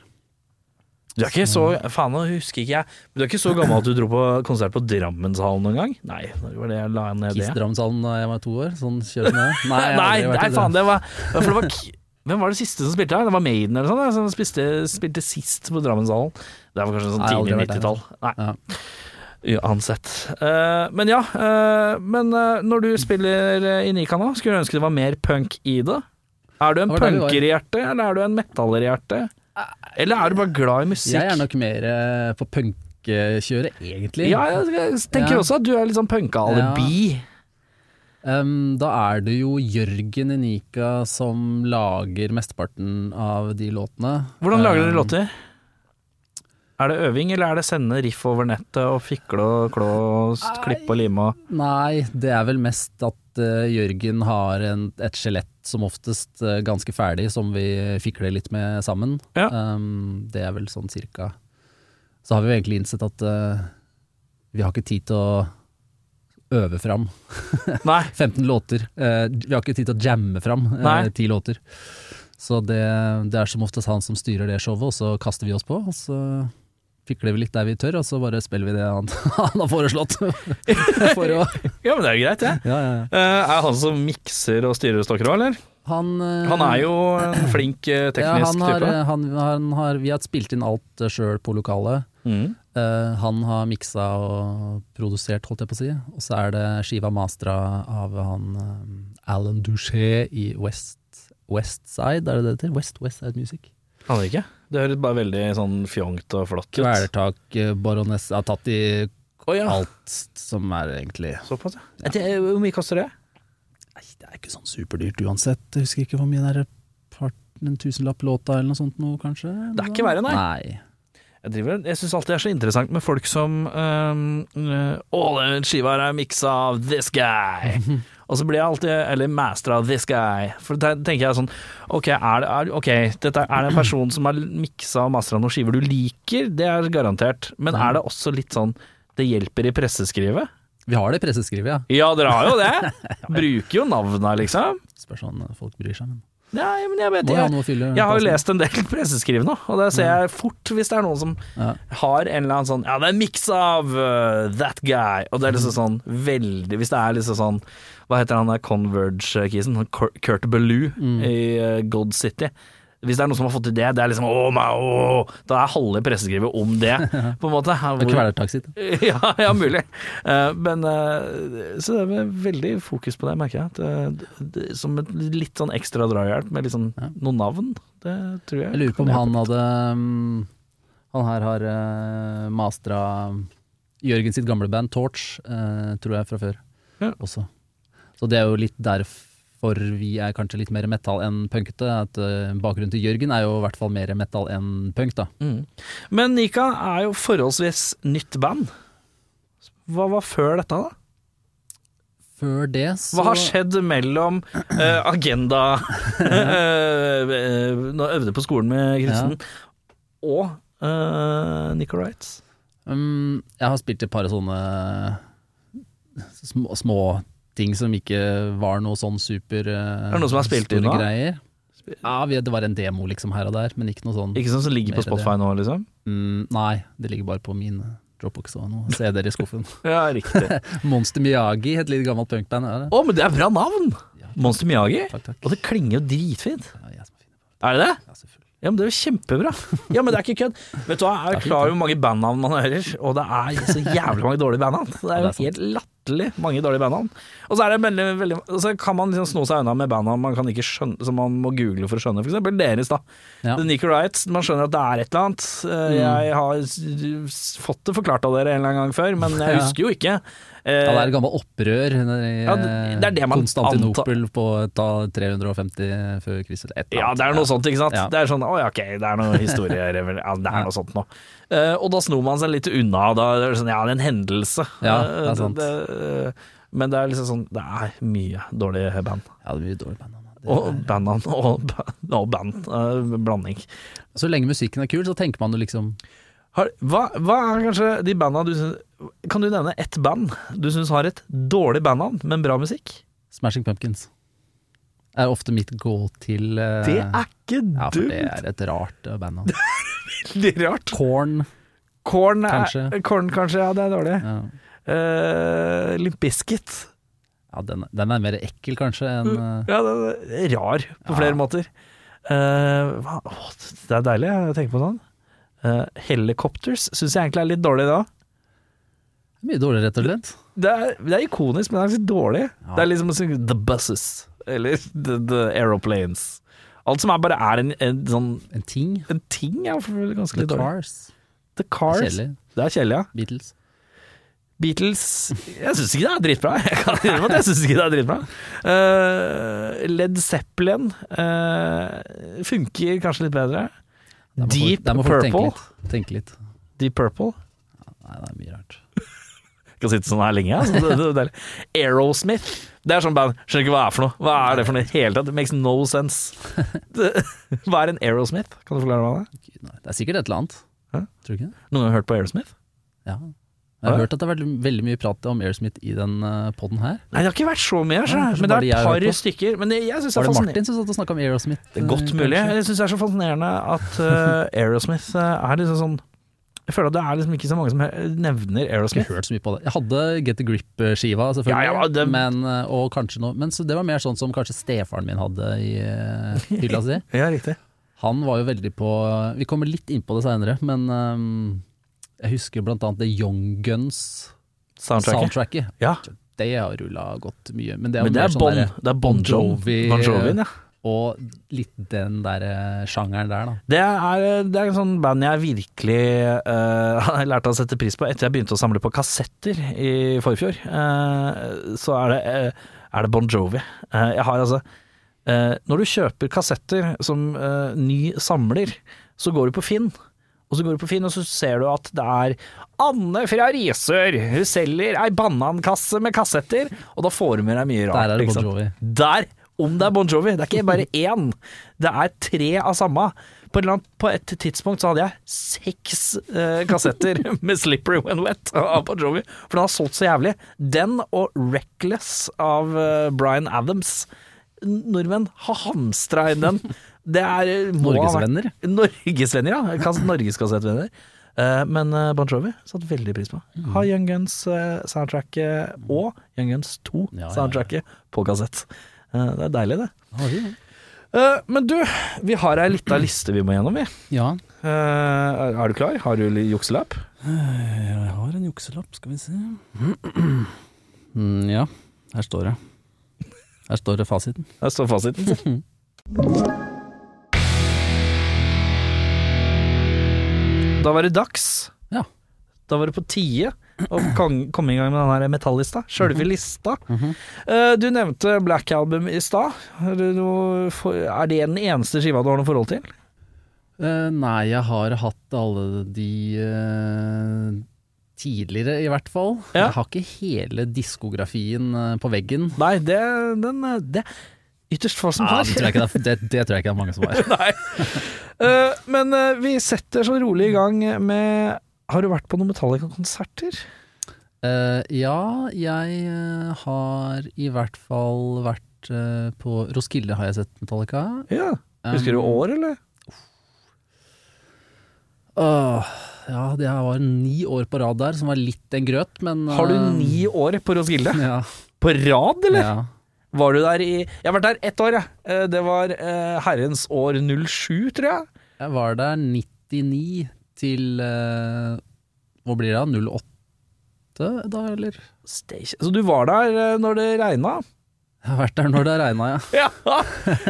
Speaker 1: Du er ikke så Mm. Faen, nå husker ikke jeg. Men du er ikke så gammel at du dro på konsert på Drammenshallen noen gang? Nei, når var det jeg la ned det?
Speaker 2: Kiss Drammenshallen da jeg var to år, sånn kjør
Speaker 1: *laughs*
Speaker 2: som det er. Nei, jeg
Speaker 1: Nei,
Speaker 2: har aldri vært i
Speaker 1: nei
Speaker 2: det.
Speaker 1: faen, det var For det var k- Hvem var det siste som spilte her? Det var Maiden eller sånn, som spilte, spilte sist på Drammenshallen. Det var kanskje sånn
Speaker 2: Nei, jeg har
Speaker 1: tidlig
Speaker 2: aldri vært der.
Speaker 1: 90-tall. Nei. Uansett. Eh, men ja, eh, men eh, når du spiller eh, i Nika nå, skulle du ønske det var mer punk i det? Er du en
Speaker 2: Det var der vi var.
Speaker 1: punker i hjertet, eller er du en metaller i hjertet? Eller er du bare glad i musikk?
Speaker 2: Jeg er nok mer eh, på punkekjøret, egentlig.
Speaker 1: Ja, jeg tenker
Speaker 2: Ja.
Speaker 1: også at du er litt sånn punka-alibi.
Speaker 2: Um, da er det jo Jørgen i Nika som lager mesteparten av de låtene.
Speaker 1: Hvordan lager dere
Speaker 2: Um,
Speaker 1: låter? Er det øving, eller er det sende riff over nettet og fikle og klå og s- klippe og lime og
Speaker 2: Nei, det er vel mest at eh, Jørgen har en, et skjelett som oftest eh, ganske ferdig, som vi fikler litt med sammen.
Speaker 1: Ja.
Speaker 2: Um, det er vel sånn cirka. Så har vi jo egentlig innsett at eh, vi har ikke tid til å øve fram
Speaker 1: Nei.
Speaker 2: 15 låter. Eh, vi har ikke tid til å jamme fram
Speaker 1: Nei.
Speaker 2: eh, ti låter. Så det, det er som oftest han som styrer det showet, og så kaster vi oss på. Og så fikler vi litt der vi tør, og så bare spiller vi det han, *laughs* han har foreslått. *laughs* For
Speaker 1: *laughs*
Speaker 2: å,
Speaker 1: Ja, men det er jo greit, det.
Speaker 2: ja, ja. ja.
Speaker 1: *laughs* Eh, er han som mikser og styrer stokker òg, eller?
Speaker 2: Han, eh,
Speaker 1: Han er jo en flink eh,
Speaker 2: ja,
Speaker 1: teknisk
Speaker 2: han har,
Speaker 1: type.
Speaker 2: Han, han har, vi har spilt inn alt sjøl på lokalet.
Speaker 1: Mm.
Speaker 2: Eh, han har miksa og produsert, holdt jeg på å si. Og så er det skiva mastra av han eh, Alan Duché i West Westside, er det det heter? West Westside Music.
Speaker 1: Han er ikke? Det høres bare veldig sånn fjongt og flott ut.
Speaker 2: Kvelertak, eh, baroness har tatt i
Speaker 1: Å ja.
Speaker 2: alt som er egentlig
Speaker 1: Såpass, ja. Eh, det- Hvor mye koster det?
Speaker 2: Nei, det er ikke sånn superdyrt uansett. Jeg husker ikke hvor mye det er. part- En tusenlapp-låta eller noe sånt nå, kanskje?
Speaker 1: Det er ikke verre, nei.
Speaker 2: nei.
Speaker 1: Jeg, driver- jeg syns alltid det er så interessant med folk som øhm, øh, Å, den skiva her er miksa av this guy. Og så blir jeg alltid Eller master av this guy. For da tenker jeg sånn Ok, er det, er, ok, dette er, er det en person som har miksa og mastra noen skiver du liker? Det er garantert. Men er det også litt sånn Det hjelper i presseskrivet?
Speaker 2: Vi har det i presseskrivet, ja.
Speaker 1: *laughs* Ja, dere har jo det! Bruker jo navna, liksom.
Speaker 2: Spørs om folk bryr seg, men
Speaker 1: Nei, men jeg vet
Speaker 2: Må jo ha
Speaker 1: jeg,
Speaker 2: noe å fylle.
Speaker 1: jeg har jo
Speaker 2: plassen.
Speaker 1: lest en del *laughs* presseskriv nå, og der ser jeg fort hvis det er noen som
Speaker 2: Ja.
Speaker 1: har en eller annen sånn Ja, det er en miks av uh, That Guy, og det er liksom
Speaker 2: Mhm.
Speaker 1: sånn veldig Hvis det er liksom sånn Hva heter han der Converge-kisen? sånn Cur- Kurt Bellew
Speaker 2: Mm.
Speaker 1: i uh, God City. Hvis det er noen som har fått til det, det er liksom åh, meg, åh, Da er halve presseskrivet om
Speaker 2: *laughs*
Speaker 1: det, på en måte.
Speaker 2: Det er Kvelertaxi.
Speaker 1: *laughs* ja, ja, mulig. Eh, men eh, Så det er vel veldig fokus på det, merker jeg. At, eh, det, det, som et litt sånn ekstra drahjelp med litt sånn, noen navn. Det tror jeg.
Speaker 2: Jeg lurer på om
Speaker 1: kan
Speaker 2: han hadde mm, Han her har uh, mastra Jørgen sitt gamle band Torch, eh, tror jeg, fra før
Speaker 1: Ja.
Speaker 2: også. Så det er jo litt derfor vi er kanskje litt mer metal enn punkete. At eh, bakgrunnen til Jørgen er jo i hvert fall mer metal enn punk, da.
Speaker 1: Mm. Men Nika er jo forholdsvis nytt band. Hva var før dette, da?
Speaker 2: Før det så
Speaker 1: Hva har skjedd mellom eh, Agenda
Speaker 2: *laughs*
Speaker 1: eh, eh, Nå øvde jeg på skolen med Kristen, og uh, Nika Wrights?
Speaker 2: Mm, jeg har spilt et par sånne små, små ting som ikke var noe sånn super eh,
Speaker 1: Er det noen som har spilt i
Speaker 2: store
Speaker 1: nå?
Speaker 2: greier. Ja, vi, det var en demo liksom her og der, men ikke noe sånn
Speaker 1: Ikke sånn som ligger på
Speaker 2: Mer det.
Speaker 1: Spotify nå, liksom?
Speaker 2: mm, Nei, det ligger bare på min eh, Dropbox og noe CD-er i skuffen. *laughs*
Speaker 1: Ja, riktig.
Speaker 2: Monster Miyagi, et litt gammelt punkband. Er det?
Speaker 1: Å, men det er bra navn! Monster Miyagi.
Speaker 2: Takk, takk.
Speaker 1: Og det klinger jo dritfint.
Speaker 2: Ja, jeg som er fin.
Speaker 1: Er det det?
Speaker 2: Ja, selvfølgelig.
Speaker 1: Ja, men det er jo kjempebra. Ja, men det er ikke kødd. Vet du hva, jeg er klar over hvor mange bandnavn man hører, og det er så jævlig mange dårlige bandnavn. Det er
Speaker 2: Ja, det
Speaker 1: jo
Speaker 2: er sant.
Speaker 1: helt latterlig mange dårlige bandnavn. Og så er det veldig, veldig og så kan man liksom sno seg unna med bandnavn man kan ikke skjønne, som man må google for å skjønne, for eksempel deres, da.
Speaker 2: Ja.
Speaker 1: The Nico Wrights, man skjønner at det er et eller annet. Eh, Jeg har s- fått det forklart av dere en eller annen gang før, men jeg
Speaker 2: Ja.
Speaker 1: husker jo ikke. Eh,
Speaker 2: Ja, det er et gammelt opprør i
Speaker 1: Ja, det- det er det man
Speaker 2: Konstantinopel på ta 350 før Kristus. Et eller
Speaker 1: Ja,
Speaker 2: annet.
Speaker 1: det er noe sånt, ikke sant?
Speaker 2: Ja.
Speaker 1: Det er sånn, å ja, ok, det er noe historie, ja, det er noe sånt nå. Eh, og da snor man seg litt unna, da er det sånn, ja, det er en hendelse.
Speaker 2: Ja, det er
Speaker 1: Eh,
Speaker 2: sant.
Speaker 1: det- men det er liksom sånn, det er mye dårlige band.
Speaker 2: Ja, det er mye dårlig band. da. Det er-
Speaker 1: Og bandene, og, ba- og band, eh, blanding.
Speaker 2: Så lenge musikken er kul, så tenker man jo liksom
Speaker 1: Har, hva, hva er kanskje de bandene du synes, kan du nevne ett band du synes har et dårlig bandnavn, men bra musikk?
Speaker 2: Smashing Pumpkins. Er ofte mitt gå til eh,
Speaker 1: Det er ikke
Speaker 2: Ja, for det
Speaker 1: dumt,
Speaker 2: er et rart eh, band. da.
Speaker 1: det er rart.
Speaker 2: Korn.
Speaker 1: Korn, er,
Speaker 2: Kanskje.
Speaker 1: Korn kanskje, ja, det er dårlig.
Speaker 2: Ja.
Speaker 1: Uh, Limp Bizkit.
Speaker 2: Ja, den, den er mer ekkel kanskje enn eh,
Speaker 1: Ja, den er rar på
Speaker 2: Ja.
Speaker 1: flere måter. Eh, hva, å, det er deilig å tenke på sånn. Uh, helicopters syns jeg egentlig er litt dårlig da.
Speaker 2: Mye dårligere, rett og slett.
Speaker 1: Det er, det er ikonisk, men det er ganske dårlig.
Speaker 2: Ja.
Speaker 1: Det er liksom å synge The Buses eller The, the Aeroplanes. Alt som er bare er en, en sånn
Speaker 2: En ting.
Speaker 1: en ting, er ganske
Speaker 2: The
Speaker 1: litt dårlig.
Speaker 2: Cars.
Speaker 1: The Cars.
Speaker 2: Kjedelig.
Speaker 1: Det er kjedelig, ja.
Speaker 2: Beatles.
Speaker 1: Beatles Jeg syns ikke det er dritbra. Jeg kan innrømme at jeg synes ikke det er dritbra. Eh, Led Zeppelin eh, funker kanskje litt bedre.
Speaker 2: Der må
Speaker 1: Deep
Speaker 2: folk, der må folk
Speaker 1: Purple.
Speaker 2: Tenke litt. Tenke litt.
Speaker 1: Deep Purple.
Speaker 2: Nei, det er mye rart.
Speaker 1: Skal sitte sånn her lenge. Altså. Det, det, det er deilig. Aerosmith. Det er sånn band. Skjønner ikke hva det er for noe. Hva er det for noe i det hele tatt? It makes no sense. Det, hva er en Aerosmith? Kan du forklare meg det?
Speaker 2: Gud, nei. Det er sikkert et eller annet.
Speaker 1: Hæ?
Speaker 2: Tror du ikke det?
Speaker 1: Noen gang hørt på Aerosmith?
Speaker 2: Ja. Jeg har
Speaker 1: Hæ?
Speaker 2: hørt at det har vært veldig mye prat om Aerosmith i den uh, poden her.
Speaker 1: Nei, det har ikke vært så mye,
Speaker 2: Nei,
Speaker 1: skjønner
Speaker 2: kanskje
Speaker 1: jeg. Men
Speaker 2: bare
Speaker 1: det er et
Speaker 2: jeg har hørt
Speaker 1: par
Speaker 2: på.
Speaker 1: stykker. Men det, jeg syns det er
Speaker 2: Var det
Speaker 1: fascinerende.
Speaker 2: Martin som satt og snakka om Aerosmith?
Speaker 1: Det er godt
Speaker 2: eh,
Speaker 1: mulig.
Speaker 2: kanskje?
Speaker 1: Jeg syns det er så fascinerende at eh, *laughs* Aerosmith eh, er liksom sånn Jeg føler at det er liksom ikke så mange som he- nevner
Speaker 2: Jeg har
Speaker 1: Aerosmith.
Speaker 2: ikke hørt så mye på det. Jeg hadde Get the Grip-skiva, selvfølgelig.
Speaker 1: Ja, ja, det-
Speaker 2: men, eh, og kanskje noe, men så det var mer sånn som kanskje stefaren min hadde i eh, hylla
Speaker 1: *laughs*
Speaker 2: si.
Speaker 1: Ja, riktig.
Speaker 2: Han var jo veldig på Vi kommer litt inn på det seinere, men ehm, jeg husker blant annet The Young Guns-soundtracket.
Speaker 1: Soundtracket. Ja.
Speaker 2: Det har rulla godt mye. Men det er, jo
Speaker 1: Men det
Speaker 2: mer
Speaker 1: er
Speaker 2: sånn
Speaker 1: Bon,
Speaker 2: derre-
Speaker 1: det er bon Jovi. eh,
Speaker 2: Bon
Speaker 1: Bon
Speaker 2: Jovi.
Speaker 1: Jovin, ja.
Speaker 2: og litt den der eh, sjangeren der, da.
Speaker 1: Det er, det er en sånn band jeg virkelig eh, *laughs* har lært å sette pris på etter jeg begynte å samle på kassetter i forfjor. eh, så er det, eh, er det Bon Jovi. Eh, jeg har altså eh, Når du kjøper kassetter som eh, ny samler, så går du på Finn. Og så går du på Finn, og så ser du at det er Anne fra Risør, hun selger ei banankasse med kassetter, og da får du med deg mye rart.
Speaker 2: Der er det
Speaker 1: ikke
Speaker 2: Bon
Speaker 1: sant?
Speaker 2: Jovi.
Speaker 1: Der, om det er Bon Jovi, det er ikke bare én, det er tre av samme. På et, eller annet, på et tidspunkt så hadde jeg seks eh, kassetter *laughs* med 'Slippery When Wet' av Bon Jovi, for den har solgt så jævlig. Den og 'Reckless' av eh, Bryan Adams nordmenn har hamstra inn den. Det er må ha vært-
Speaker 2: Norgesvenner.
Speaker 1: Norgesvenner, ja. Kas- Norgeskassettvenner. Eh, Men eh, Bon Jovi satte veldig pris på.
Speaker 2: Mm.
Speaker 1: Har Young Guns-soundtracket og Young Guns
Speaker 2: Ja, ja, ja.
Speaker 1: 2-soundtracket på kassett. Eh, Det er deilig, det.
Speaker 2: Har de det?
Speaker 1: Eh, Men du, vi har ei lita liste vi må gjennom, vi.
Speaker 2: Ja.
Speaker 1: Eh, Er er du klar? Har du li- jukselapp?
Speaker 2: Jeg har en jukselapp, skal vi se. Mm, ja, her står det. Her står det fasiten.
Speaker 1: Der står
Speaker 2: *laughs*
Speaker 1: fasiten. Da var det dags.
Speaker 2: Ja.
Speaker 1: Da var det på tide å kan- komme i gang med den her metallista.
Speaker 2: Mhm.
Speaker 1: Sjølve lista. Eh, Du nevnte Black Album i stad. Er det noe for- er det den eneste skiva du har noe forhold til?
Speaker 2: Eh, nei, jeg har hatt alle de eh, tidligere, i hvert fall.
Speaker 1: Ja.
Speaker 2: Jeg har ikke hele diskografien eh, på veggen.
Speaker 1: Nei, det, den, eh, det er ytterst få som
Speaker 2: Ja,
Speaker 1: har.
Speaker 2: det, tror jeg ikke det, er- det, det tror jeg ikke det er mange som har.
Speaker 1: *laughs* Nei. Eh, Men eh, vi setter så rolig i gang med Har du vært på noen Metallica-konserter?
Speaker 2: Eh, ja, jeg eh, har i hvert fall vært eh, på Roskilde, har jeg sett Metallica.
Speaker 1: Ja. Husker du
Speaker 2: Um,
Speaker 1: år, eller?
Speaker 2: Åh, ja, det her var ni år på rad der, som var litt en grøt, men
Speaker 1: Har du
Speaker 2: eh,
Speaker 1: ni år på Roskilde?
Speaker 2: *laughs* Ja,
Speaker 1: På rad, eller?
Speaker 2: ja.
Speaker 1: Var du der i Jeg har vært der ett år, jeg. Eh, Det var eh, herrens år 07, tror jeg.
Speaker 2: Jeg var der 99 til eh, Hva blir det da? 08 da, eller?
Speaker 1: Stage. Så du var der eh, når det regna?
Speaker 2: Jeg har vært der når det regna, ja.
Speaker 1: *laughs* Ja!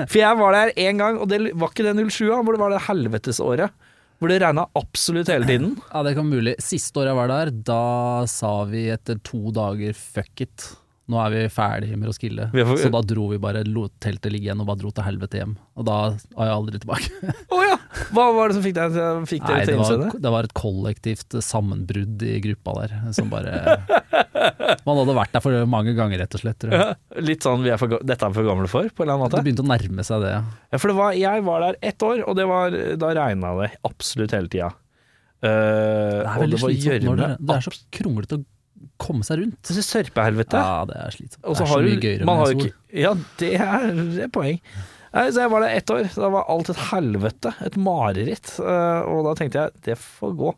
Speaker 1: For jeg var der én gang, og det var ikke det 07-a, hvor det var det helvetesåret. Hvor det regna absolutt hele tiden.
Speaker 2: ja. Det kan være mulig. Siste året jeg var der, da sa vi etter to dager fuck it. Nå er vi ferdige med Roskilde.
Speaker 1: Vi er for-
Speaker 2: Så da dro vi bare, lot teltet ligge igjen og bare dro til helvete hjem. Og da var jeg aldri
Speaker 1: *laughs*
Speaker 2: tilbake.
Speaker 1: *laughs* Å ja! Hva var det som fikk deg til- fikk
Speaker 2: Nei,
Speaker 1: dere
Speaker 2: det
Speaker 1: til å innse det?
Speaker 2: var, det var et kollektivt sammenbrudd i gruppa der, som bare *laughs* Man hadde vært der for mange ganger, rett og slett. Tror jeg.
Speaker 1: Ja, *laughs* Litt sånn vi er for, ga- dette er vi for gamle for, på en eller annen måte.
Speaker 2: Det begynte å nærme seg det. ja.
Speaker 1: Ja, for det var, jeg var der ett år, og det var, da regna det absolutt hele tida. Eh,
Speaker 2: Det er
Speaker 1: og
Speaker 2: veldig
Speaker 1: det var
Speaker 2: slitsomt når det,
Speaker 1: gjørme.
Speaker 2: det er så kronglete å komme seg rundt.
Speaker 1: Absolutt sørpehelvete.
Speaker 2: Ja, det er slitsomt.
Speaker 1: Og
Speaker 2: det
Speaker 1: så
Speaker 2: er
Speaker 1: har
Speaker 2: så
Speaker 1: du-
Speaker 2: mye gøyere
Speaker 1: man
Speaker 2: med
Speaker 1: har jo
Speaker 2: sol.
Speaker 1: ikke- Ja, det er, det er poeng. Nei, så jeg var der ett år. Da var alt et helvete. Et mareritt. Eh, Og da tenkte jeg det får gå.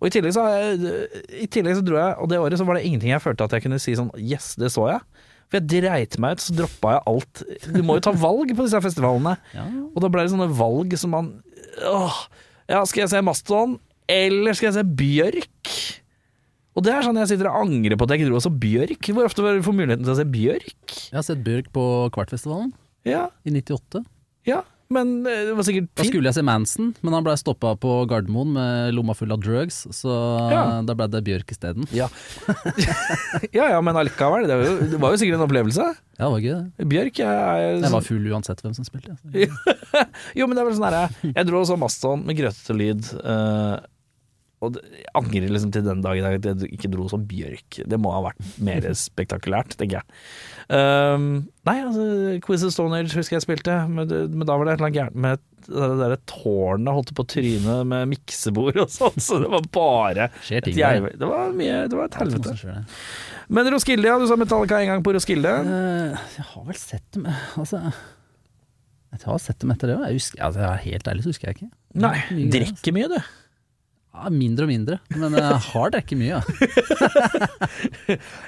Speaker 1: Og i tillegg, så har jeg, I tillegg så dro jeg, og det året så var det ingenting jeg følte at jeg kunne si sånn Yes, det så jeg. For jeg dreit meg ut, så droppa jeg alt. Du må jo ta valg på disse her festivalene.
Speaker 2: Ja.
Speaker 1: Og da ble det sånne valg som man Åh, ja, skal jeg se Mastodon, eller skal jeg se Bjørk? Og det er sånn jeg sitter og angrer på at jeg ikke dro og så Bjørk. Hvor ofte får du muligheten til å se Bjørk?
Speaker 2: Jeg har sett Bjørk på Kvartfestivalen
Speaker 1: Ja,
Speaker 2: i 98.
Speaker 1: ja, men eh, det var sikkert
Speaker 2: Da
Speaker 1: fint.
Speaker 2: skulle jeg se Manson, men han blei stoppa på Gardermoen med lomma full av drugs, så
Speaker 1: Ja.
Speaker 2: da blei det Bjørk isteden.
Speaker 1: Ja. *laughs* ja, ja, men allikevel. Det var, jo, det var jo sikkert en opplevelse.
Speaker 2: Ja, det var gøy, det.
Speaker 1: Bjørk jeg, er sånn-
Speaker 2: Jeg var full uansett hvem som spilte. altså.
Speaker 1: Jo, men det er vel sånn herre Jeg dro og så Mastodon med grøtete lyd. eh, og det- jeg angrer liksom til den dag i dag at jeg ikke dro som Bjørk. Det må ha vært mer *laughs* spektakulært, tenker jeg. Um, nei, altså Quiz of Stone Age husker jeg spilte, men, det- men da var det et eller annet gærent med det derre tårnet holdt på trynet med miksebord og sånn, så det var bare
Speaker 2: Skjer
Speaker 1: et
Speaker 2: ting der.
Speaker 1: jævlig- Det var mye Det var et
Speaker 2: Noe som
Speaker 1: helvete.
Speaker 2: skjer der.
Speaker 1: Men Roskilde, ja. Du sa Metallica en gang på Roskilde.
Speaker 2: Eh, jeg har vel sett dem eh, Altså Jeg har sett dem etter det. og Jeg husker, altså, jeg er helt ærlig så husker jeg ikke.
Speaker 1: Nei,
Speaker 2: Mye, altså.
Speaker 1: drikker mye, du.
Speaker 2: Ja, mindre og mindre, men jeg har drukket mye. Ja.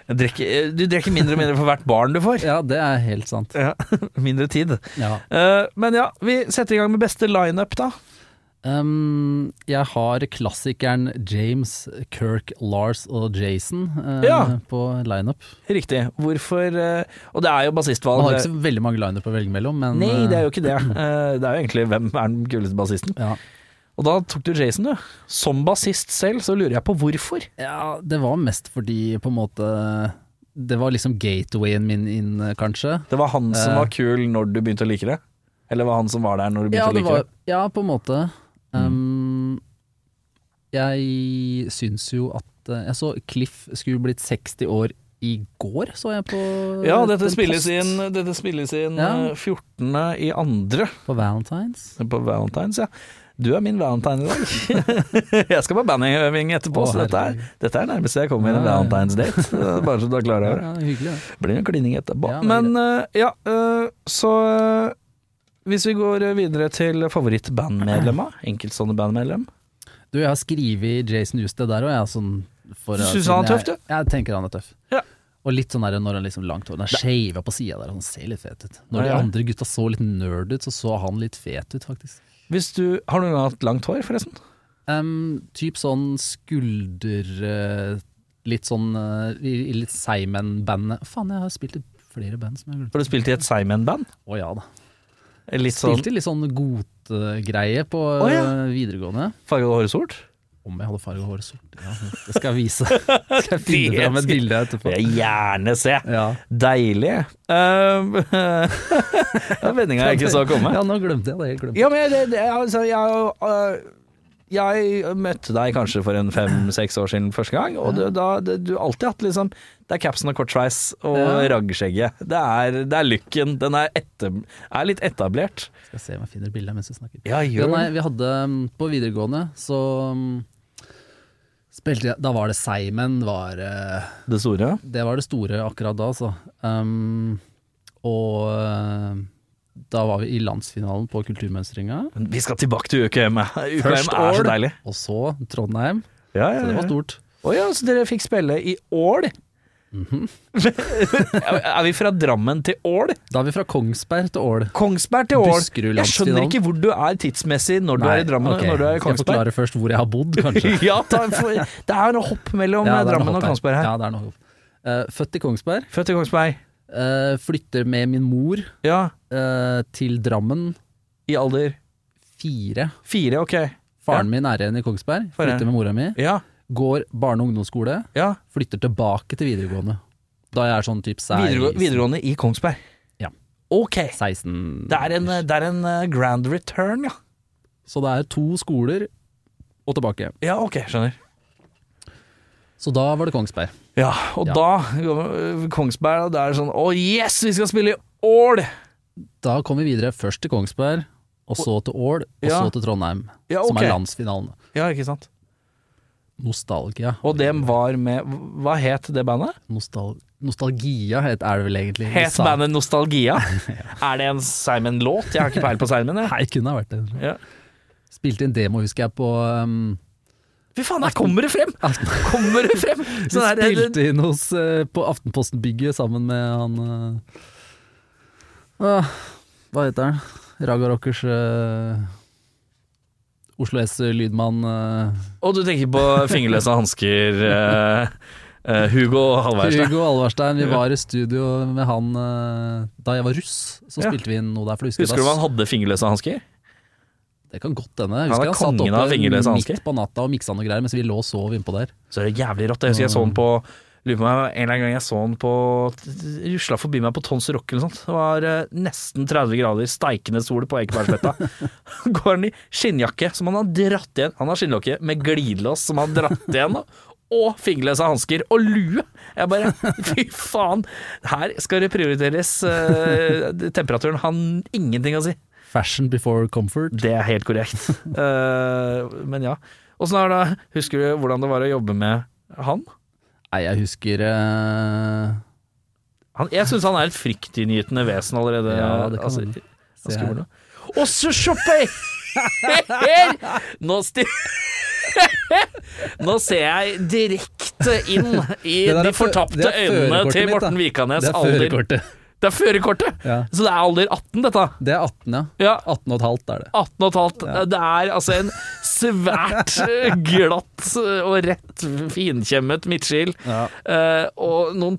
Speaker 1: Drikker, eh, du drikker mindre og mindre for hvert barn du får.
Speaker 2: ja, det er helt sant.
Speaker 1: Ja, *laughs* mindre tid.
Speaker 2: Ja.
Speaker 1: Eh, men ja, vi setter i gang med beste lineup, da.
Speaker 2: Um, jeg har klassikeren James, Kirk, Lars og Jason eh,
Speaker 1: Ja.
Speaker 2: på lineup.
Speaker 1: Riktig. Hvorfor eh, Og det er jo
Speaker 2: Man har
Speaker 1: bassistvalg.
Speaker 2: ikke så veldig mange lineup å velge mellom, men
Speaker 1: Nei, det er jo ikke det. Eh, *clears throat* det er jo egentlig hvem er den kuleste bassisten.
Speaker 2: eh, ja.
Speaker 1: Og da tok du Jason, du. Som bassist selv, så lurer jeg på hvorfor.
Speaker 2: ja, det var mest fordi på en måte Det var liksom gatewayen min inn, eh, kanskje.
Speaker 1: Det var han som
Speaker 2: Eh.
Speaker 1: var kul når du begynte å like det? Eller var han som var der når du begynte
Speaker 2: Ja,
Speaker 1: å
Speaker 2: det
Speaker 1: like
Speaker 2: var,
Speaker 1: det?
Speaker 2: ja på en måte. Um, jeg syns jo at eh, Jeg så Cliff skulle blitt 60 år i går, så jeg på
Speaker 1: Ja, dette
Speaker 2: en
Speaker 1: spilles
Speaker 2: post
Speaker 1: inn, dette spilles inn
Speaker 2: Ja.
Speaker 1: eh, 14. i andre
Speaker 2: På Valentines.
Speaker 1: på Valentine's, ja. Du er min valentine i dag. *laughs* jeg skal på bandøving etterpå,
Speaker 2: Å,
Speaker 1: så dette er, dette er nærmest jeg kommer i en
Speaker 2: Ja, ja, ja.
Speaker 1: valentines *laughs* date. Bare så du er klar over det.
Speaker 2: Ja, hyggelig, det.
Speaker 1: Blir en klining etterpå.
Speaker 2: Ja, det blir
Speaker 1: Men eh, ja, eh, så eh, hvis vi går videre til *clears throat* favorittbandmedlemmer, enkeltstående bandmedlem
Speaker 2: Du, jeg har skrevet Jason Newsted der òg, jeg. er Sånn, for-
Speaker 1: Du synes
Speaker 2: siden
Speaker 1: han er tøff,
Speaker 2: jeg-
Speaker 1: du?
Speaker 2: Jeg tenker han er tøff.
Speaker 1: Ja.
Speaker 2: Og litt sånn der, når han liksom langt hår. Han er skeiva på sida der, han ser litt fet ut. Når de
Speaker 1: Ja, ja.
Speaker 2: andre gutta så litt nerd ut, så så han litt fet ut, faktisk.
Speaker 1: Hvis du Har du noen gang hatt langt hår, forresten?
Speaker 2: Em, typ sånn skulder eh, Litt sånn eh, i, i litt Seimen-bandet. Faen, jeg har spilt i flere band som jeg har glemt.
Speaker 1: Har du spilt i et Simon-band?
Speaker 2: Å ja da.
Speaker 1: Litt sånn
Speaker 2: Spilte i litt sånn gotegreie på
Speaker 1: Å, ja.
Speaker 2: eh, videregående.
Speaker 1: farget hår sort?
Speaker 2: Om jeg hadde farga håret sort. Ja, det skal jeg
Speaker 1: *laughs*
Speaker 2: vise. skal jeg
Speaker 1: Det
Speaker 2: finne fram et
Speaker 1: skal-
Speaker 2: bilde
Speaker 1: Får
Speaker 2: etterpå.
Speaker 1: jeg gjerne se!
Speaker 2: Ja.
Speaker 1: Deilig. *laughs* Um, den vendinga jeg ikke så komme.
Speaker 2: Ja, nå glemte jeg det. Helt glemt.
Speaker 1: Ja, men det, det, altså, jeg, øh, jeg møtte deg kanskje for en fem-seks år siden første gang, og du, da, det, du har alltid hatt liksom Det er capsen og kortsveis og
Speaker 2: Ja.
Speaker 1: raggskjegget. Det er, det er looken. Den er, etter, er litt etablert.
Speaker 2: Skal se om jeg finner bildet mens vi snakker.
Speaker 1: Ja,
Speaker 2: Ja, nei, vi hadde mm, På videregående så mm, spilte jeg Da var det Seimen, var eh,
Speaker 1: det store.
Speaker 2: Det var det store akkurat da, altså. Um, og eh, da var vi i landsfinalen på kulturmønstringa.
Speaker 1: Men Vi skal tilbake til *laughs* UKM. UKM
Speaker 2: Først
Speaker 1: er så
Speaker 2: Ål,
Speaker 1: deilig.
Speaker 2: Og så Trondheim.
Speaker 1: Ja, ja,
Speaker 2: Så det var
Speaker 1: ja.
Speaker 2: stort.
Speaker 1: Å ja, så dere fikk spille i Ål?
Speaker 2: Mhm.
Speaker 1: *laughs* er vi fra Drammen til Ål?
Speaker 2: Da er vi fra Kongsberg til Ål.
Speaker 1: Kongsberg til Ål.
Speaker 2: Buskerud
Speaker 1: Jeg skjønner
Speaker 2: landsfinalen.
Speaker 1: ikke hvor du er tidsmessig når du
Speaker 2: Nei,
Speaker 1: er i Drammen
Speaker 2: ok.
Speaker 1: og når du er i
Speaker 2: Skal jeg
Speaker 1: Kongsberg. *laughs*
Speaker 2: forklare først hvor jeg har bodd, kanskje?
Speaker 1: ja, ta, for, det er noe hopp mellom
Speaker 2: *laughs* Ja, det er
Speaker 1: *laughs*
Speaker 2: noe
Speaker 1: Drammen
Speaker 2: hopp
Speaker 1: og
Speaker 2: her.
Speaker 1: Kongsberg her.
Speaker 2: Ja, det er noe hopp. Eh, født i Kongsberg.
Speaker 1: Født i Kongsberg.
Speaker 2: eh, flytter med min mor
Speaker 1: Ja,
Speaker 2: eh, til Drammen.
Speaker 1: i alder
Speaker 2: Fire.
Speaker 1: fire, ok.
Speaker 2: Faren min er igjen i Kongsberg.
Speaker 1: Faren.
Speaker 2: Flytter med mora mi.
Speaker 1: Ja,
Speaker 2: Går barne- og ungdomsskole.
Speaker 1: ja.
Speaker 2: Flytter tilbake til videregående. Da jeg er sånn type sei-
Speaker 1: Videregå, videregående i Kongsberg.
Speaker 2: Ja.
Speaker 1: Ok.
Speaker 2: 16
Speaker 1: Det er en, det er en eh, grand return, ja.
Speaker 2: Så det er to skoler og tilbake.
Speaker 1: Ja, ok, skjønner.
Speaker 2: Så da var det Kongsberg.
Speaker 1: Ja, og
Speaker 2: Ja.
Speaker 1: da går- eh, Kongsberg, og det er sånn Å yes, vi skal spille i Ål!
Speaker 2: Da kom vi videre først til Kongsberg, og så til Ål, og
Speaker 1: Ja.
Speaker 2: så til Trondheim,
Speaker 1: Ja,
Speaker 2: som
Speaker 1: ok.
Speaker 2: er landsfinalen.
Speaker 1: Ja, ikke sant.
Speaker 2: Nostalgia.
Speaker 1: Og det var med Hva het det bandet?
Speaker 2: Nostal Nostalgia het, er det vel egentlig. Vi
Speaker 1: Het
Speaker 2: sa-
Speaker 1: bandet Nostalgia?
Speaker 2: *laughs*
Speaker 1: Er det en Simon-låt? Jeg har ikke peil på Simon, jeg.
Speaker 2: Nei, kunne ha vært det.
Speaker 1: Ja.
Speaker 2: Spilte inn demo, husker jeg, på um,
Speaker 1: Fy faen, der kommer det frem!
Speaker 2: *laughs* Aften-
Speaker 1: Kommer det frem!
Speaker 2: Vi
Speaker 1: Sånn her, det- det-
Speaker 2: spilte inn hos, eh, på Aftenposten-bygget sammen med han eh, ah, Hva heter han? Raga Rockers eh, Oslo S lydmann eh,
Speaker 1: Og du tenker på fingerløse hansker, eh, eh, Hugo Halværstad.
Speaker 2: Hugo Alvarstein. Vi var i studio med han eh, da jeg var russ. Så
Speaker 1: Ja.
Speaker 2: spilte vi inn noe der. For jeg
Speaker 1: Husker du
Speaker 2: da-
Speaker 1: om han hadde fingerløse hansker?
Speaker 2: Det kan godt hende. Jeg
Speaker 1: Han
Speaker 2: Husker
Speaker 1: er
Speaker 2: han, satt
Speaker 1: kongen av fingerløse
Speaker 2: oppe
Speaker 1: hansker.
Speaker 2: midt på natta og miksa noe greier mens vi lå og sov innpå der.
Speaker 1: Så er det jævlig rått. Jeg husker jeg så han på Lurer på meg, En eller annen gang jeg så han på Rusla forbi meg på Tons Rock eller noe sånt. Det var eh, nesten 30 grader, steikende sol på Ekebergsletta. *laughs* Går han i skinnjakke som han har dratt igjen. Han har skinnlokke med glidelås som han har dratt igjen. da. Og fingerløse hansker og lue! Jeg bare *laughs* Fy faen! Her skal det prioriteres eh, temperaturen. Han ingenting å si.
Speaker 2: Fashion before comfort.
Speaker 1: Det er helt korrekt. Eh, men ja. Åssen er det Husker du hvordan det var å jobbe med han?
Speaker 2: Nei, jeg husker eh,
Speaker 1: han jeg syns han er et fryktinngytende vesen allerede.
Speaker 2: Ja, det kan
Speaker 1: altså,
Speaker 2: hende.
Speaker 1: han
Speaker 2: Se
Speaker 1: skulle
Speaker 2: *laughs* her.
Speaker 1: det. Og så shopper jeg! Nå sti... *laughs* Nå ser jeg direkte inn i
Speaker 2: Det
Speaker 1: de
Speaker 2: der er fø- det
Speaker 1: fortapte
Speaker 2: er
Speaker 1: øynene
Speaker 2: førerkortet
Speaker 1: til
Speaker 2: mitt, da.
Speaker 1: Morten Vikanes
Speaker 2: Det er
Speaker 1: alder.
Speaker 2: førerkortet.
Speaker 1: Det er førerkortet!
Speaker 2: Ja.
Speaker 1: Så det er alder 18, dette.
Speaker 2: Det er 18, ja.
Speaker 1: Ja,
Speaker 2: 18 og et halvt er det.
Speaker 1: 18 og et halvt. Det er altså en svært
Speaker 2: *laughs*
Speaker 1: eh, glatt eh, og rett finkjemmet midtskill. eh, og noen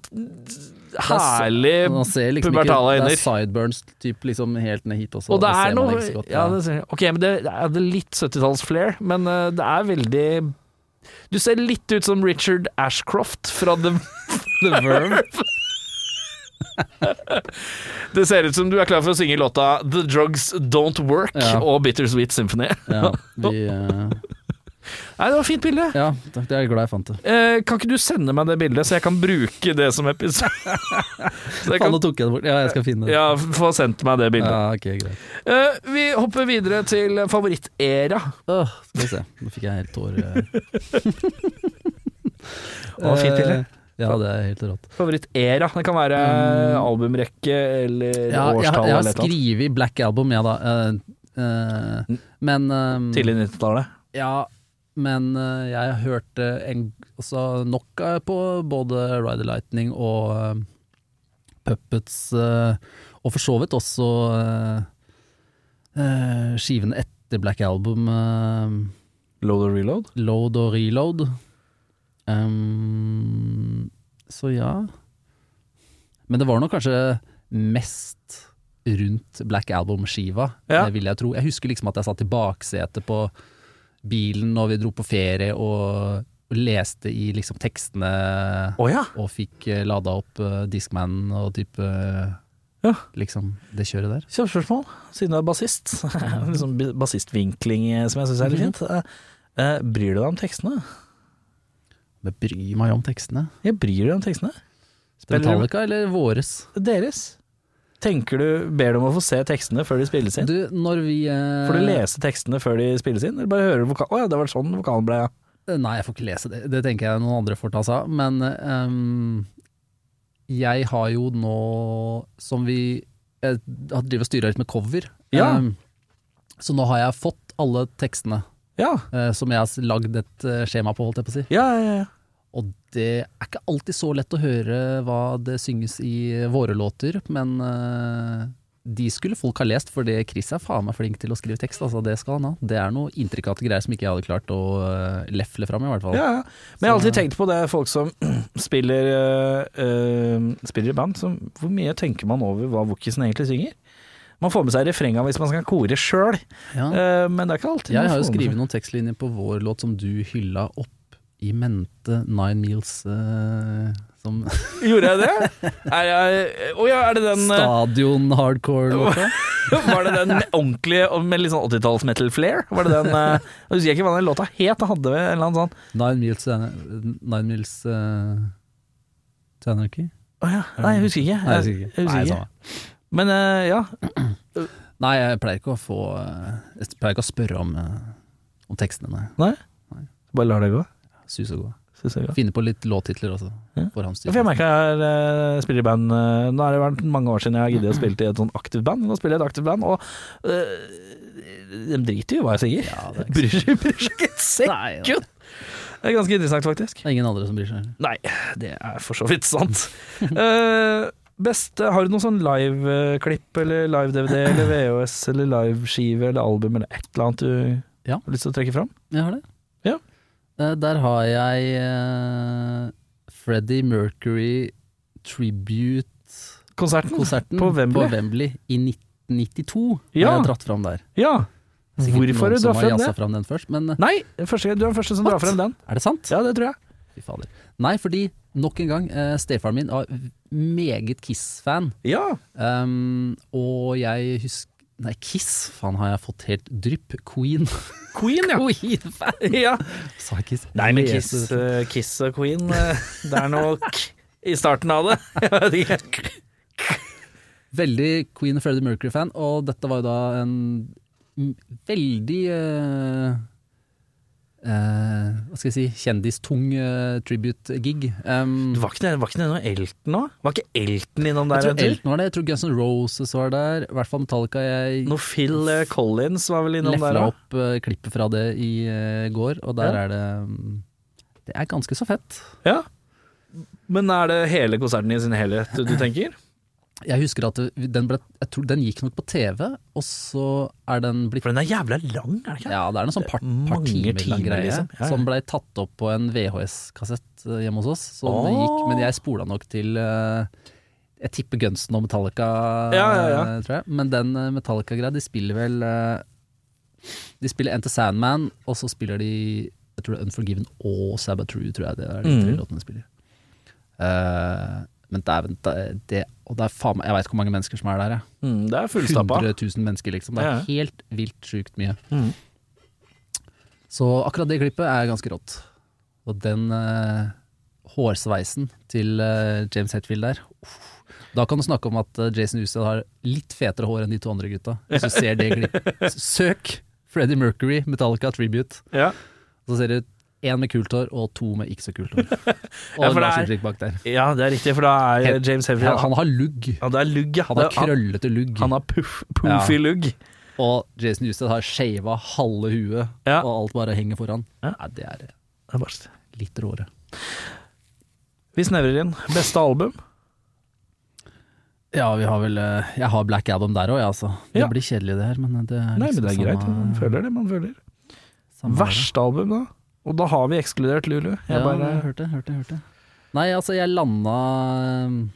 Speaker 1: herlig
Speaker 2: Man ser liksom ikke-
Speaker 1: pubertale øyne.
Speaker 2: Det er sideburns typ, liksom, helt ned hit også.
Speaker 1: Og det er
Speaker 2: ser man
Speaker 1: noe
Speaker 2: ikke så godt,
Speaker 1: ja,
Speaker 2: ja.
Speaker 1: det ser jeg. Ok, men det, det er det litt 70-talls-flair, men eh, det er veldig Du ser litt ut som Richard Ashcroft fra The *laughs*
Speaker 2: The Verve.
Speaker 1: Det ser ut som du er klar for å synge låta The Drugs Don't Work
Speaker 2: Ja.
Speaker 1: og Bittersweet Symphony.
Speaker 2: Ja, vi, eh,
Speaker 1: Nei, det var et fint bilde.
Speaker 2: Ja, takk, jeg er glad jeg fant det.
Speaker 1: Eh, kan ikke du sende meg det bildet, så jeg kan bruke det som episode? *laughs* Så jeg
Speaker 2: Faen,
Speaker 1: kan
Speaker 2: nå tok jeg det bort. Ja, jeg skal finne det.
Speaker 1: ja, få sendt meg det bildet.
Speaker 2: Ja, ok, greit.
Speaker 1: Eh, vi hopper videre til favorittera.
Speaker 2: Åh, skal vi se. Nå fikk jeg helt tårer.
Speaker 1: *laughs* Å, fint bilde.
Speaker 2: Eh, Ja, det er helt rått.
Speaker 1: Favorittera. Det kan være albumrekke eller
Speaker 2: Mm. Ja, jeg,
Speaker 1: årstall
Speaker 2: har- jeg har
Speaker 1: eller et eller annet.
Speaker 2: skrevet Black Album, ja da. eh, eh, men eh,
Speaker 1: Tidlig 90-tallet.
Speaker 2: Ja, men eh, jeg har hørt eh, en, altså nok eh, på både Ride the Lightning og eh, Puppets, eh, og for så vidt også eh, eh, skivene etter Black Album, eh,
Speaker 1: Load or reload?
Speaker 2: Load og Reload. Ehm, så ja. Men det var nok kanskje mest rundt Black Album-skiva,
Speaker 1: Ja.
Speaker 2: det vil jeg tro. Jeg husker liksom at jeg satt i baksetet på bilen når vi dro på ferie og leste i liksom tekstene
Speaker 1: Å ja.
Speaker 2: og fikk eh, lada opp eh, Discman og type eh,
Speaker 1: Ja.
Speaker 2: liksom det kjøret der.
Speaker 1: Kjapt spørsmål, siden du er bassist. *laughs* Litt sånn bi- bassistvinkling eh, som jeg syns er litt fint. Eh, eh, bryr du deg om tekstene?
Speaker 2: Men bry meg om tekstene.
Speaker 1: Jeg bryr deg om tekstene. Spiller du-
Speaker 2: Metallica eller våres?
Speaker 1: Deres. Tenker du, Ber du om å få se tekstene før de spilles inn?
Speaker 2: Du, når vi eh,
Speaker 1: Får du lese tekstene før de spilles inn, eller bare høre vokalen? Å ja, det var sånn vokalen ble, ja.
Speaker 2: Eh, Nei, jeg får ikke lese det. Det tenker jeg noen andre får ta seg av. Men ehm, jeg har jo nå, som vi Jeg har drevet og styra litt med cover.
Speaker 1: Ja.
Speaker 2: Ehm, så nå har jeg fått alle tekstene
Speaker 1: Ja,
Speaker 2: eh, som jeg har lagd et eh, skjema på, holdt jeg på å si.
Speaker 1: ja, ja. ja.
Speaker 2: Og det er ikke alltid så lett å høre hva det synges i eh, våre låter, men eh, de skulle folk ha lest, for det Chris er faen meg flink til å skrive tekst. Altså, det skal han ha. Det er noe intrikate greier som ikke jeg hadde klart å eh, lefle fram, i hvert fall.
Speaker 1: ja, ja. Men jeg har alltid tenkt på det, folk som *clears throat* spiller, eh, eh, spiller i band, som, hvor mye tenker man over hva vokisen egentlig synger? Man får med seg refrenga hvis man skal kore sjøl,
Speaker 2: Ja.
Speaker 1: eh, men det er ikke alltid.
Speaker 2: Jeg
Speaker 1: man
Speaker 2: har jo
Speaker 1: får med seg-
Speaker 2: skrevet noen tekstlinjer på vår låt som du hylla opp i mente Nine Meals eh,
Speaker 1: *laughs*
Speaker 2: som
Speaker 1: Gjorde jeg det? Er jeg, å ja, er det den eh, *laughs*
Speaker 2: stadion-hardcore-låta.
Speaker 1: Var det den med ordentlige og med litt sånn 80-talls metal flair? Var det den eh, Jeg husker ikke hva den låta het, jeg hadde vel en eller annen sånn
Speaker 2: Nine Meals, eh, Nine Meals eh, to Anarchy?
Speaker 1: Å ja, nei, jeg husker ikke.
Speaker 2: Nei, jeg husker ikke. Nei, samme.
Speaker 1: Men eh, ja.
Speaker 2: Nei, jeg pleier ikke å få eh, Jeg pleier ikke å spørre om, eh, om tekstene, nei.
Speaker 1: Nei. Bare lar det gå.
Speaker 2: Sus og gå.
Speaker 1: Synes jeg er bra.
Speaker 2: Finne på litt låttitler også.
Speaker 1: Ja. Ja, For
Speaker 2: Forhåndstitler.
Speaker 1: jeg merker jeg eh, spiller i band eh, Nå har det vært mange år siden jeg har giddet å spille i et sånn aktivt band. Nå spiller jeg i et aktivt band, og eh, de driter jo i hva jeg sier.
Speaker 2: Ja, det er ikke
Speaker 1: bryr seg bryr seg ikke et
Speaker 2: Nei, ja.
Speaker 1: sekund! Det er ganske interessant, faktisk.
Speaker 2: Det er ingen andre som bryr seg.
Speaker 1: Nei, det er for så vidt sant. *laughs* Eh, beste, har du noen sånn liveklipp eller live-DVD eller VHS eller liveskive eller album eller et eller annet du
Speaker 2: Ja.
Speaker 1: har lyst til å trekke fram?
Speaker 2: Jeg har det.
Speaker 1: Ja.
Speaker 2: Eh, Der har jeg eh, Freddie Mercury Tribute-konserten
Speaker 1: Konserten? på Wembley?
Speaker 2: i 1992.
Speaker 1: Ja.
Speaker 2: Har jeg dratt fram der.
Speaker 1: Ja!
Speaker 2: Sikkert
Speaker 1: Hvorfor har du
Speaker 2: noen som
Speaker 1: dratt frem
Speaker 2: jazza
Speaker 1: det?
Speaker 2: Fram den først, men eh,
Speaker 1: Nei, første, du er den første som drar
Speaker 2: What?
Speaker 1: frem den.
Speaker 2: er det sant?
Speaker 1: Ja, det tror jeg.
Speaker 2: Fy fader. Nei, fordi nok en gang, eh, stefaren min var meget Kiss-fan.
Speaker 1: Ja!
Speaker 2: Um, og jeg husker Nei, Kiss, faen har jeg fått helt drypp. Queen. *laughs*
Speaker 1: Queen, ja.
Speaker 2: Queen-fan!
Speaker 1: ja.
Speaker 2: Sa jeg Kiss?
Speaker 1: Nei, men Kiss,
Speaker 2: Jesus.
Speaker 1: eh, Kiss og Queen, eh, det er noe k i starten av det. *laughs* Jeg vet ikke.
Speaker 2: Veldig Queen og Freddie Mercury-fan, og dette var jo da en m- veldig eh, eh, Hva skal jeg si kjendistung eh, tribute-gig. Um,
Speaker 1: Var ikke det, var ikke det noe Elton òg? Var ikke Elton innom
Speaker 2: jeg
Speaker 1: der? en
Speaker 2: tror
Speaker 1: tur?
Speaker 2: Elton var der, jeg tror Guns N' Roses var der. I hvert fall Metallica. Jeg
Speaker 1: Noe Phil eh, Collins var vel innom der
Speaker 2: lefla
Speaker 1: òg?
Speaker 2: opp eh, klippet fra det i eh, går, og der
Speaker 1: Ja.
Speaker 2: er det mm, Det er ganske så fett.
Speaker 1: Ja. Men er det hele konserten i sin helhet du tenker?
Speaker 2: Jeg husker at det- den, ble, jeg tror den gikk nok på TV, og så er den blitt
Speaker 1: For den er jævla lang, er det ikke?
Speaker 2: Ja, det er noen sånn par, par
Speaker 1: Mange
Speaker 2: timer
Speaker 1: timer,
Speaker 2: lang greie
Speaker 1: liksom. Ja, ja.
Speaker 2: som blei tatt opp på en VHS-kassett eh, hjemme hos oss. Så det
Speaker 1: Åh.
Speaker 2: gikk, men jeg spola nok til eh, Jeg tipper Gunsen og Metallica,
Speaker 1: Ja, ja, ja.
Speaker 2: eh, tror jeg. Men den eh, Metallica-greia, de spiller vel eh, De spiller Enter Sandman, og så spiller de Jeg tror det er Unforgiven og Sabatru, tror jeg det er de tre
Speaker 1: Mhm.
Speaker 2: låtene de spiller. Eh, men dæven, det, det, og det er faen meg Jeg veit ikke hvor mange mennesker som er der, jeg.
Speaker 1: Mm, det er fullstappa. Mm.
Speaker 2: 100 000 mennesker, liksom. Det er
Speaker 1: Ja, ja.
Speaker 2: helt vilt sjukt mye.
Speaker 1: Mhm.
Speaker 2: Så akkurat det klippet er ganske rått. Og den eh, hårsveisen til eh, James Hetfield der uff. Da kan du snakke om at eh, Jason Usted har litt fetere hår enn de to andre gutta. Hvis du ser det
Speaker 1: *laughs*
Speaker 2: klippet. Søk Freddie Mercury, Metallica Tribute.
Speaker 1: Ja.
Speaker 2: Så ser du én med kult hår og to med ikke så kult
Speaker 1: *laughs*
Speaker 2: hår. Og
Speaker 1: Ja, for det er-
Speaker 2: Lars Ulrik bak der.
Speaker 1: ja, det er riktig, for da er
Speaker 2: Helt-
Speaker 1: James Heffield
Speaker 2: Han, han har lugg.
Speaker 1: Ja, det er lugg, ja.
Speaker 2: Han har
Speaker 1: Det- han-
Speaker 2: krøllete lugg.
Speaker 1: han har puff, poofy lugg.
Speaker 2: Og Jason Usted har shava halve huet,
Speaker 1: Ja.
Speaker 2: og alt bare henger foran.
Speaker 1: Ja.
Speaker 2: Nei, det er eh,
Speaker 1: Det er bare-
Speaker 2: litt råere.
Speaker 1: Vi snevrer inn. Beste album?
Speaker 2: Ja, vi har vel eh, Jeg har Black Adam der òg, jeg, altså. Det
Speaker 1: Ja.
Speaker 2: blir kjedelig, det her, men det er
Speaker 1: Nei, men
Speaker 2: liksom
Speaker 1: det er greit. Man
Speaker 2: samme-
Speaker 1: føler det man føler.
Speaker 2: samme
Speaker 1: Verste album, da? Og da har vi ekskludert Lulu.
Speaker 2: Ja,
Speaker 1: Jeg bare,
Speaker 2: jeg hørte, hørte, hørte. Nei, altså, jeg landa um,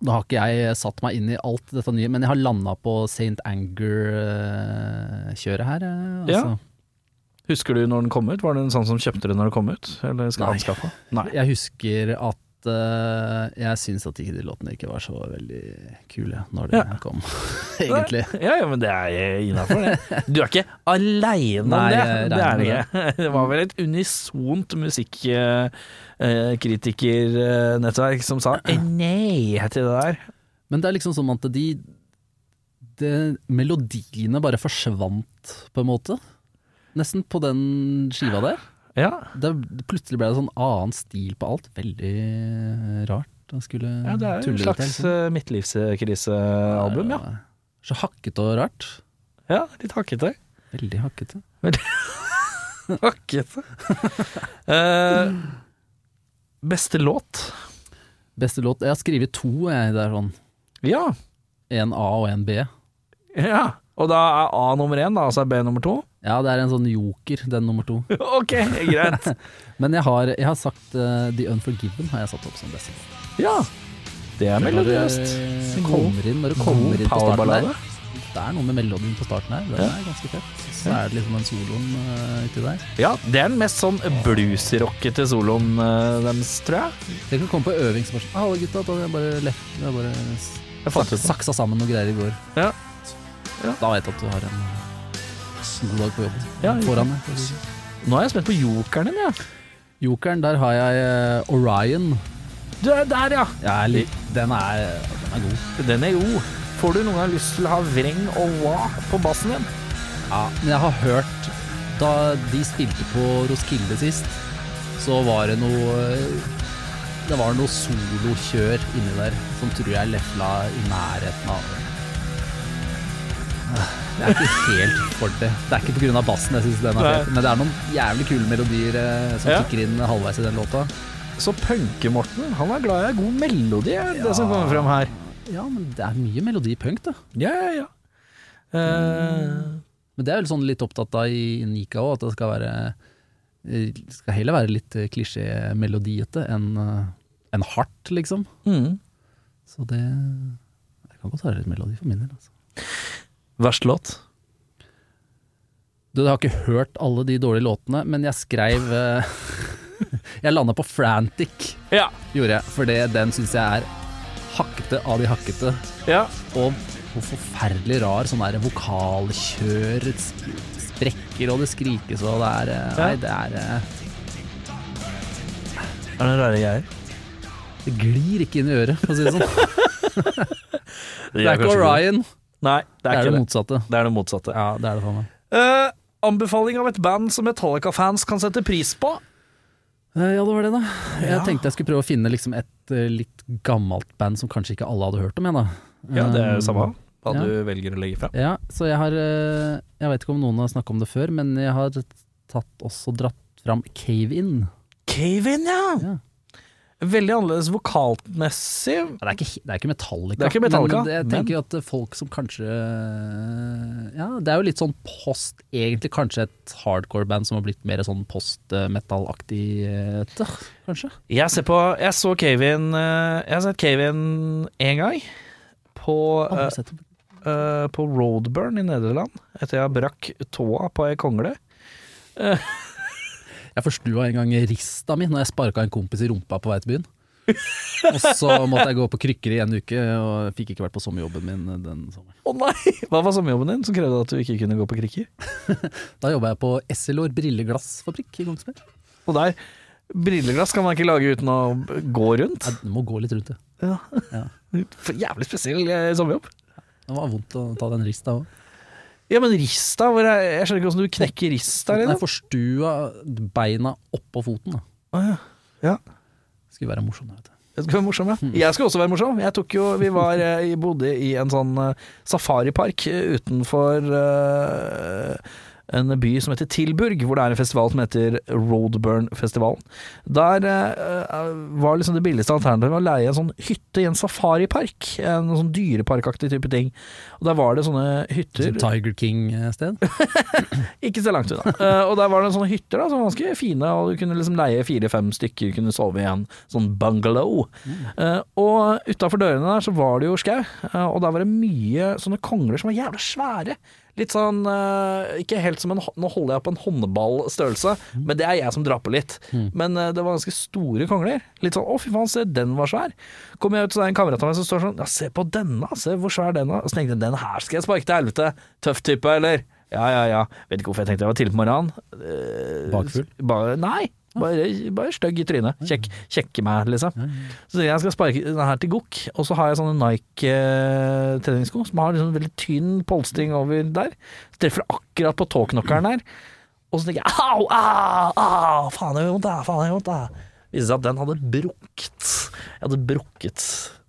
Speaker 2: Nå har ikke jeg satt meg inn i alt dette nye, men jeg har landa på St. Anger-kjøret her. eh,
Speaker 1: Ja.
Speaker 2: Altså.
Speaker 1: Husker du når den kom ut? Var det en sånn som kjøpte det når det kom ut? Eller skal
Speaker 2: Nei.
Speaker 1: anskaffe? Nei.
Speaker 2: Jeg husker at eh, jeg syns at ikke de låtene ikke var så veldig kule når det
Speaker 1: Ja. *laughs*
Speaker 2: kom, *laughs* egentlig.
Speaker 1: Ja, ja, men det er innafor, det. Du er ikke aleine om
Speaker 2: Nei,
Speaker 1: det.
Speaker 2: jeg
Speaker 1: Det er
Speaker 2: regner
Speaker 1: det
Speaker 2: med
Speaker 1: ikke. *laughs* Det var vel et unisont musikkritikernettverk som *clears throat* sa eh, nei til det der.
Speaker 2: Men det er liksom sånn at de det, Melodiene bare forsvant, på en måte. Nesten på den skiva der.
Speaker 1: Ja,
Speaker 2: Det, plutselig ble det sånn annen stil på alt. Veldig rart. Jeg skulle
Speaker 1: ja det er jo
Speaker 2: tulle
Speaker 1: en
Speaker 2: det
Speaker 1: slags
Speaker 2: til.
Speaker 1: eh, midtlivskrisealbum, ja.
Speaker 2: Så hakkete og rart.
Speaker 1: ja. Litt hakkete.
Speaker 2: Veldig hakkete.
Speaker 1: Hakkete. *laughs* Eh, beste låt?
Speaker 2: Beste låt Jeg har skrevet to, jeg. Det er sånn
Speaker 1: Ja.
Speaker 2: en A og en B.
Speaker 1: ja. Og da er A nummer én, da, altså er B nummer to?
Speaker 2: Ja, det er en sånn joker, den nummer to.
Speaker 1: *laughs* Ok, greit.
Speaker 2: Men jeg har, jeg har sagt eh, The Unforgiven har jeg satt opp som beste. låt.
Speaker 1: *laughs* Ja. Det er
Speaker 2: Når det
Speaker 1: melodiøst.
Speaker 2: Kommer inn, når det
Speaker 1: God
Speaker 2: kommer inn på starten der.
Speaker 1: powerballade.
Speaker 2: Det er noe med melodien på starten her. Den er ganske fett. Så er det liksom den soloen eh, uti der.
Speaker 1: Ja, det er den mest sånn bluesrockete soloen eh, deres, tror jeg.
Speaker 2: Det kan komme på øving som bare sånn, Hallo, gutta. Da har jeg bare, lef- jeg har bare s-
Speaker 1: Jeg fant ut
Speaker 2: saksa sammen noe greier i går.
Speaker 1: Ja. Ja.
Speaker 2: Da vet jeg at du har en god dag på jobb
Speaker 1: Ja, ikke
Speaker 2: foran deg.
Speaker 1: Nå er jeg spent på jokeren din, jeg.
Speaker 2: sånn. Jokeren, der har jeg eh, Orion.
Speaker 1: Du er der, ja.
Speaker 2: Jeg er litt, den, er, den er god.
Speaker 1: Den er jo. Får du noen gang lyst til å ha vreng og wah på bassen din?
Speaker 2: Ja, men jeg har hørt Da de spilte på Roskilde sist, så var det noe Det var noe solokjør inni der som tror jeg lefla i nærheten av Jeg er ikke helt for det. Det er ikke pga. bassen jeg syns den er fet, men det er noen jævlig kule melodier eh, som
Speaker 1: Ja.
Speaker 2: kicker inn halvveis i den låta.
Speaker 1: Så punke-Morten, han er glad i en god melodi, er det som kommer frem her.
Speaker 2: Ja, men det er mye melodi i punk, da.
Speaker 1: Ja, ja, ja. Eh,
Speaker 2: Men det er vel sånn litt opptatt av i Nika òg, at det skal være eh, det skal heller være litt eh, klisjé-melodiete enn eh, enn hardt, liksom.
Speaker 1: mm.
Speaker 2: Så det Jeg kan godt høre litt melodi for min del. Altså.
Speaker 1: Verst låt?
Speaker 2: Du, jeg har ikke hørt alle de dårlige låtene, men jeg skreiv eh, *laughs* Jeg landa på 'Frantic',
Speaker 1: Ja.
Speaker 2: gjorde jeg, for det- den syns jeg er hakkete av de hakkete.
Speaker 1: ja.
Speaker 2: Og hvor forferdelig rar sånn der vokalkjør, sp- sprekker og det skrikes og det er eh, Nei, det er eh,
Speaker 1: Er det rare greier?
Speaker 2: Det glir ikke inn i øret, for å
Speaker 1: *laughs*
Speaker 2: si det sånn. Det er ikke
Speaker 1: kanskje
Speaker 2: Orion,
Speaker 1: Nei, det
Speaker 2: det
Speaker 1: er,
Speaker 2: er det
Speaker 1: ikke det.
Speaker 2: motsatte.
Speaker 1: Det er det motsatte.
Speaker 2: Ja, det er det for meg.
Speaker 1: Eh, anbefaling av et band som Metallica-fans kan sette pris på.
Speaker 2: Eh, Ja, det var det, da. Jeg
Speaker 1: Ja.
Speaker 2: tenkte jeg skulle prøve å finne liksom et eh, litt gammelt band som kanskje ikke alle hadde hørt om, jeg, da.
Speaker 1: Ja, det er
Speaker 2: Um,
Speaker 1: jo samme hva
Speaker 2: ja.
Speaker 1: du velger å legge frem.
Speaker 2: Ja, så jeg har eh, Jeg vet ikke om noen har snakka om det før, men jeg har tatt også dratt fram Cave In.
Speaker 1: Cave-in, ja.
Speaker 2: Ja.
Speaker 1: Veldig annerledes vokalmessig.
Speaker 2: Ja, Det er ikke, det er ikke Metallica.
Speaker 1: Det er ikke Metallica,
Speaker 2: men jeg
Speaker 1: men-
Speaker 2: tenker at eh, folk som kanskje Ja, det er jo litt sånn post Egentlig kanskje et hardcore-band som har blitt mer sånn post-metal-aktig, eh, tøh, kanskje.
Speaker 1: Jeg, ser på, jeg så Cave-in eh, Jeg har sett Cave-in én gang. På,
Speaker 2: Alle har sett det.
Speaker 1: eh, eh, på Roadburn i Nederland, etter jeg brakk tåa på ei kongle.
Speaker 2: Jeg forstua en gang rista mi når jeg sparka en kompis i rumpa på vei til byen. Og så måtte jeg gå på krykker i en uke, og fikk ikke vært på sommerjobben min eh, den sommeren.
Speaker 1: Å nei! Hva var sommerjobben din som krevde at du ikke kunne gå på krikker?
Speaker 2: Da jobba jeg på Essilor brilleglassfabrikk i Kongsberg.
Speaker 1: Og der, brilleglass kan man ikke lage uten å gå rundt.
Speaker 2: Jeg må gå litt rundt det.
Speaker 1: Ja.
Speaker 2: Ja.
Speaker 1: For jævlig spesiell eh, sommerjobb.
Speaker 2: Det var vondt å ta den rista òg.
Speaker 1: Ja, men rista, hvor er, jeg skjønner ikke hvordan du knekker rista.
Speaker 2: Jeg
Speaker 1: Eller?
Speaker 2: forstua beina oppå foten. da.
Speaker 1: Å, ja. Ja.
Speaker 2: Skulle være morsom. Vet du.
Speaker 1: Jeg skal være morsom, ja. Jeg skal også være morsom. Jeg tok jo, vi var, eh, bodde i en sånn eh, safaripark eh, utenfor eh, en by som heter Tilburg, hvor det er en festival som heter Roadburn-festivalen. Der eh, var liksom det billigste alternativet å leie en sånn hytte i en safaripark. En sånn dyreparkaktig type ting. Og der var det sånne hytter.
Speaker 2: Sånn Tiger
Speaker 1: *laughs*
Speaker 2: King-sted.
Speaker 1: Ikke så langt unna. Eh, og der var det sånne hytter da, som var ganske fine, og du kunne liksom leie fire-fem stykker, kunne sove i en sånn bungalow. Eh, og utafor dørene der så var det jo skau, eh, og der var det mye sånne kongler som var jævla svære. Litt sånn eh, Ikke helt som en hå- Nå holder jeg på en håndballstørrelse, men det er jeg som drar på litt. Men eh, det var ganske store kongler. Litt sånn 'Å, fy faen, se, den var svær'. Kommer jeg ut, så er det en kamerat av meg som står sånn 'Ja, se på denne, se hvor svær den var'. Og så tenkte jeg 'Den her skal jeg sparke til helvete'. Tøff type, eller? Ja, ja, ja. Vet ikke hvorfor jeg tenkte jeg var tidlig på morgenen. Eh,
Speaker 2: Bakfull?
Speaker 1: Bare, nei. Bare, bare stygg i trynet. Kjekk, kjekke meg, liksom. Så jeg skal sparke den her til gokk, og så har jeg sånne Nike-treningssko som har liksom veldig tynn polstring over der. Så treffer det akkurat på tåknokkeren her. Og så tenker jeg au, au, au, faen det gjør vondt, da, faen det gjør vondt. da. Viste seg at den hadde brukket. Jeg hadde brukket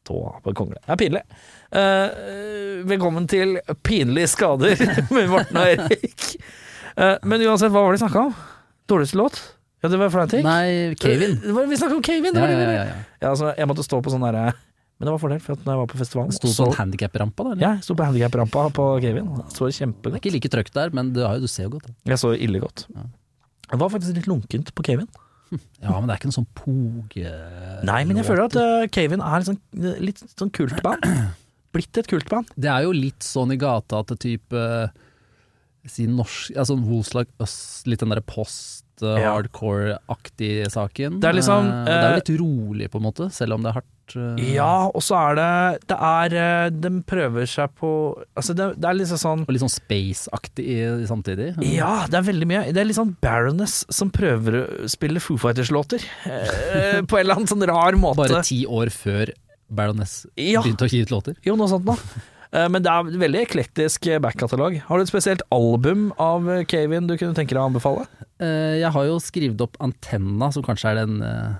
Speaker 1: tåa på en kongle. Det er pinlig. Eh, velkommen til Pinlige skader *laughs* med Morten og Erik. Eh, men uansett, hva var det vi snakka om? Dårligste låt? Ja, det var Frantic.
Speaker 2: Nei, Kevin.
Speaker 1: Det var, vi snakka om Kevin! *laughs* Det
Speaker 2: Ja,
Speaker 1: var det
Speaker 2: ja,
Speaker 1: vi-
Speaker 2: ja, ja.
Speaker 1: ja, altså, jeg måtte stå på sånn derre Men det var fordel, for at når jeg var på festivalen
Speaker 2: Sto
Speaker 1: så,
Speaker 2: sånn handikap-rampa da? Eller?
Speaker 1: Ja, jeg sto på handikap-rampa på Kevin. Jeg Så
Speaker 2: Det er
Speaker 1: kjempegodt.
Speaker 2: ikke like trøkk der, men det har jo, du ser jo godt. da.
Speaker 1: Jeg så ille godt.
Speaker 2: Ja.
Speaker 1: Jeg var faktisk litt lunkent på Kevin.
Speaker 2: Ja, men det er ikke noen sånn eh. poge...
Speaker 1: Nei, men jeg føler at eh, Kevin er sånn, litt sånn
Speaker 2: *clears throat*
Speaker 1: kultband. Blitt et kultband.
Speaker 2: Det er jo litt sånn i gata at det type eh, Si norsk Altså Wolslag Øst, litt den derre post eh,
Speaker 1: Ja.
Speaker 2: Hardcore-aktig saken.
Speaker 1: Det er liksom,
Speaker 2: Eh, det er jo litt rolig, på en måte, selv om det er hardt. eh,
Speaker 1: Ja, og så er det Det er eh, De prøver seg på Altså, det, det er liksom sånn
Speaker 2: Og litt sånn space-aktig i- samtidig.
Speaker 1: Ja, det er veldig mye. Det er litt sånn Baroness som prøver å spille Foo Fighters-låter. eh, på en eller annen sånn rar måte.
Speaker 2: Bare ti år før Baroness
Speaker 1: Ja.
Speaker 2: begynte å gi ut låter.
Speaker 1: Jo, noe sånt da. Eh, Men det er veldig eklektisk backkatalog. Har du et spesielt album av eh, Kevin du kunne tenke deg å anbefale?
Speaker 2: Eh, jeg har jo skrevet opp Antenna, som kanskje er den eh,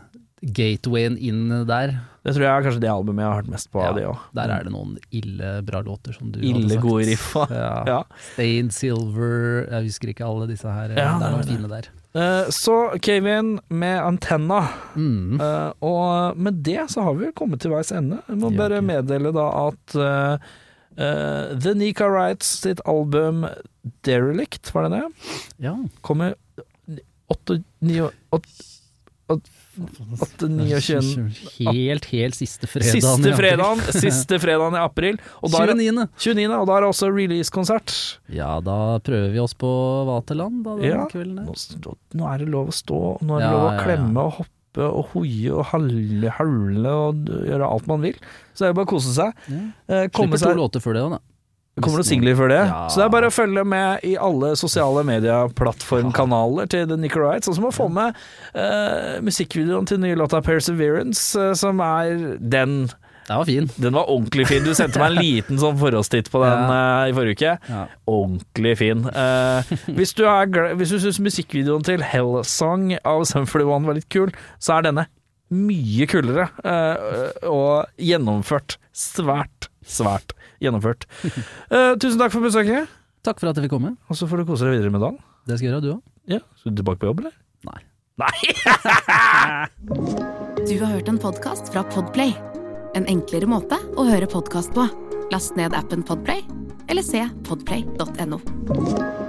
Speaker 2: gatewayen inn der.
Speaker 1: Det tror jeg er kanskje det albumet jeg har hørt mest på av de òg.
Speaker 2: Der er det noen ille bra låter, som du hadde
Speaker 1: Ille
Speaker 2: sagt.
Speaker 1: gode riffa.
Speaker 2: ah. Ja.
Speaker 1: Mm. Ja.
Speaker 2: Stained Silver, jeg husker ikke alle disse her. eh,
Speaker 1: Ja,
Speaker 2: det er
Speaker 1: det
Speaker 2: noen
Speaker 1: er
Speaker 2: fine der.
Speaker 1: Eh, Så Kevin med antenna.
Speaker 2: Mm.
Speaker 1: Eh, Og med det så har vi vel kommet til veis ende. Jeg må
Speaker 2: Ja,
Speaker 1: bare
Speaker 2: ok.
Speaker 1: meddele da at eh, eh, The Nika Wrights sitt album Derelict, var det det?
Speaker 2: Ja.
Speaker 1: Kommer 8, 9, 8, 8, 29
Speaker 2: Helt, helt siste fredagen.
Speaker 1: Siste fredagen, siste fredagen i april. Og da er,
Speaker 2: 29.
Speaker 1: 29. Og da er det også release-konsert.
Speaker 2: Ja, da prøver vi oss på Vaterland da, den
Speaker 1: Ja.
Speaker 2: kvelden der.
Speaker 1: Nå, nå er det lov å stå, og nå er det
Speaker 2: Ja,
Speaker 1: lov å
Speaker 2: ja, ja.
Speaker 1: klemme og hoppe og hoie og halle, halle og d- gjøre alt man vil. Så det er jo bare å kose seg.
Speaker 2: Ja.
Speaker 1: Eh, komme
Speaker 2: Slipper to
Speaker 1: seg
Speaker 2: låter før det òg, da.
Speaker 1: Kommer det singler før det?
Speaker 2: Ja.
Speaker 1: Så det er bare å følge med i alle sosiale medieplattformkanaler til The Nicorites. Og så må man få med eh, musikkvideoen til nye låta Perseverance, eh, som er den
Speaker 2: Den var fin.
Speaker 1: Den var ordentlig fin. Du sendte meg en liten sånn forhåndstitt på den eh, i forrige uke.
Speaker 2: Ja.
Speaker 1: Ordentlig fin. Eh, hvis du, er gl- hvis du syns musikkvideoen til Hellsong av Sumford One var litt kul, så er denne mye kulere eh, og gjennomført. Svært, svært gjennomført. Eh, tusen takk for besøket,
Speaker 2: Takk for at jeg fikk komme.
Speaker 1: og så får du kose deg videre med dagen.
Speaker 2: Det skal jeg gjøre, du òg.
Speaker 1: Ja. Skal du tilbake på jobb, eller?
Speaker 2: Nei.
Speaker 1: Nei!
Speaker 3: Du har hørt en podkast fra Podplay. En enklere måte å høre podkast på. Last ned appen Podplay, eller se podplay.no.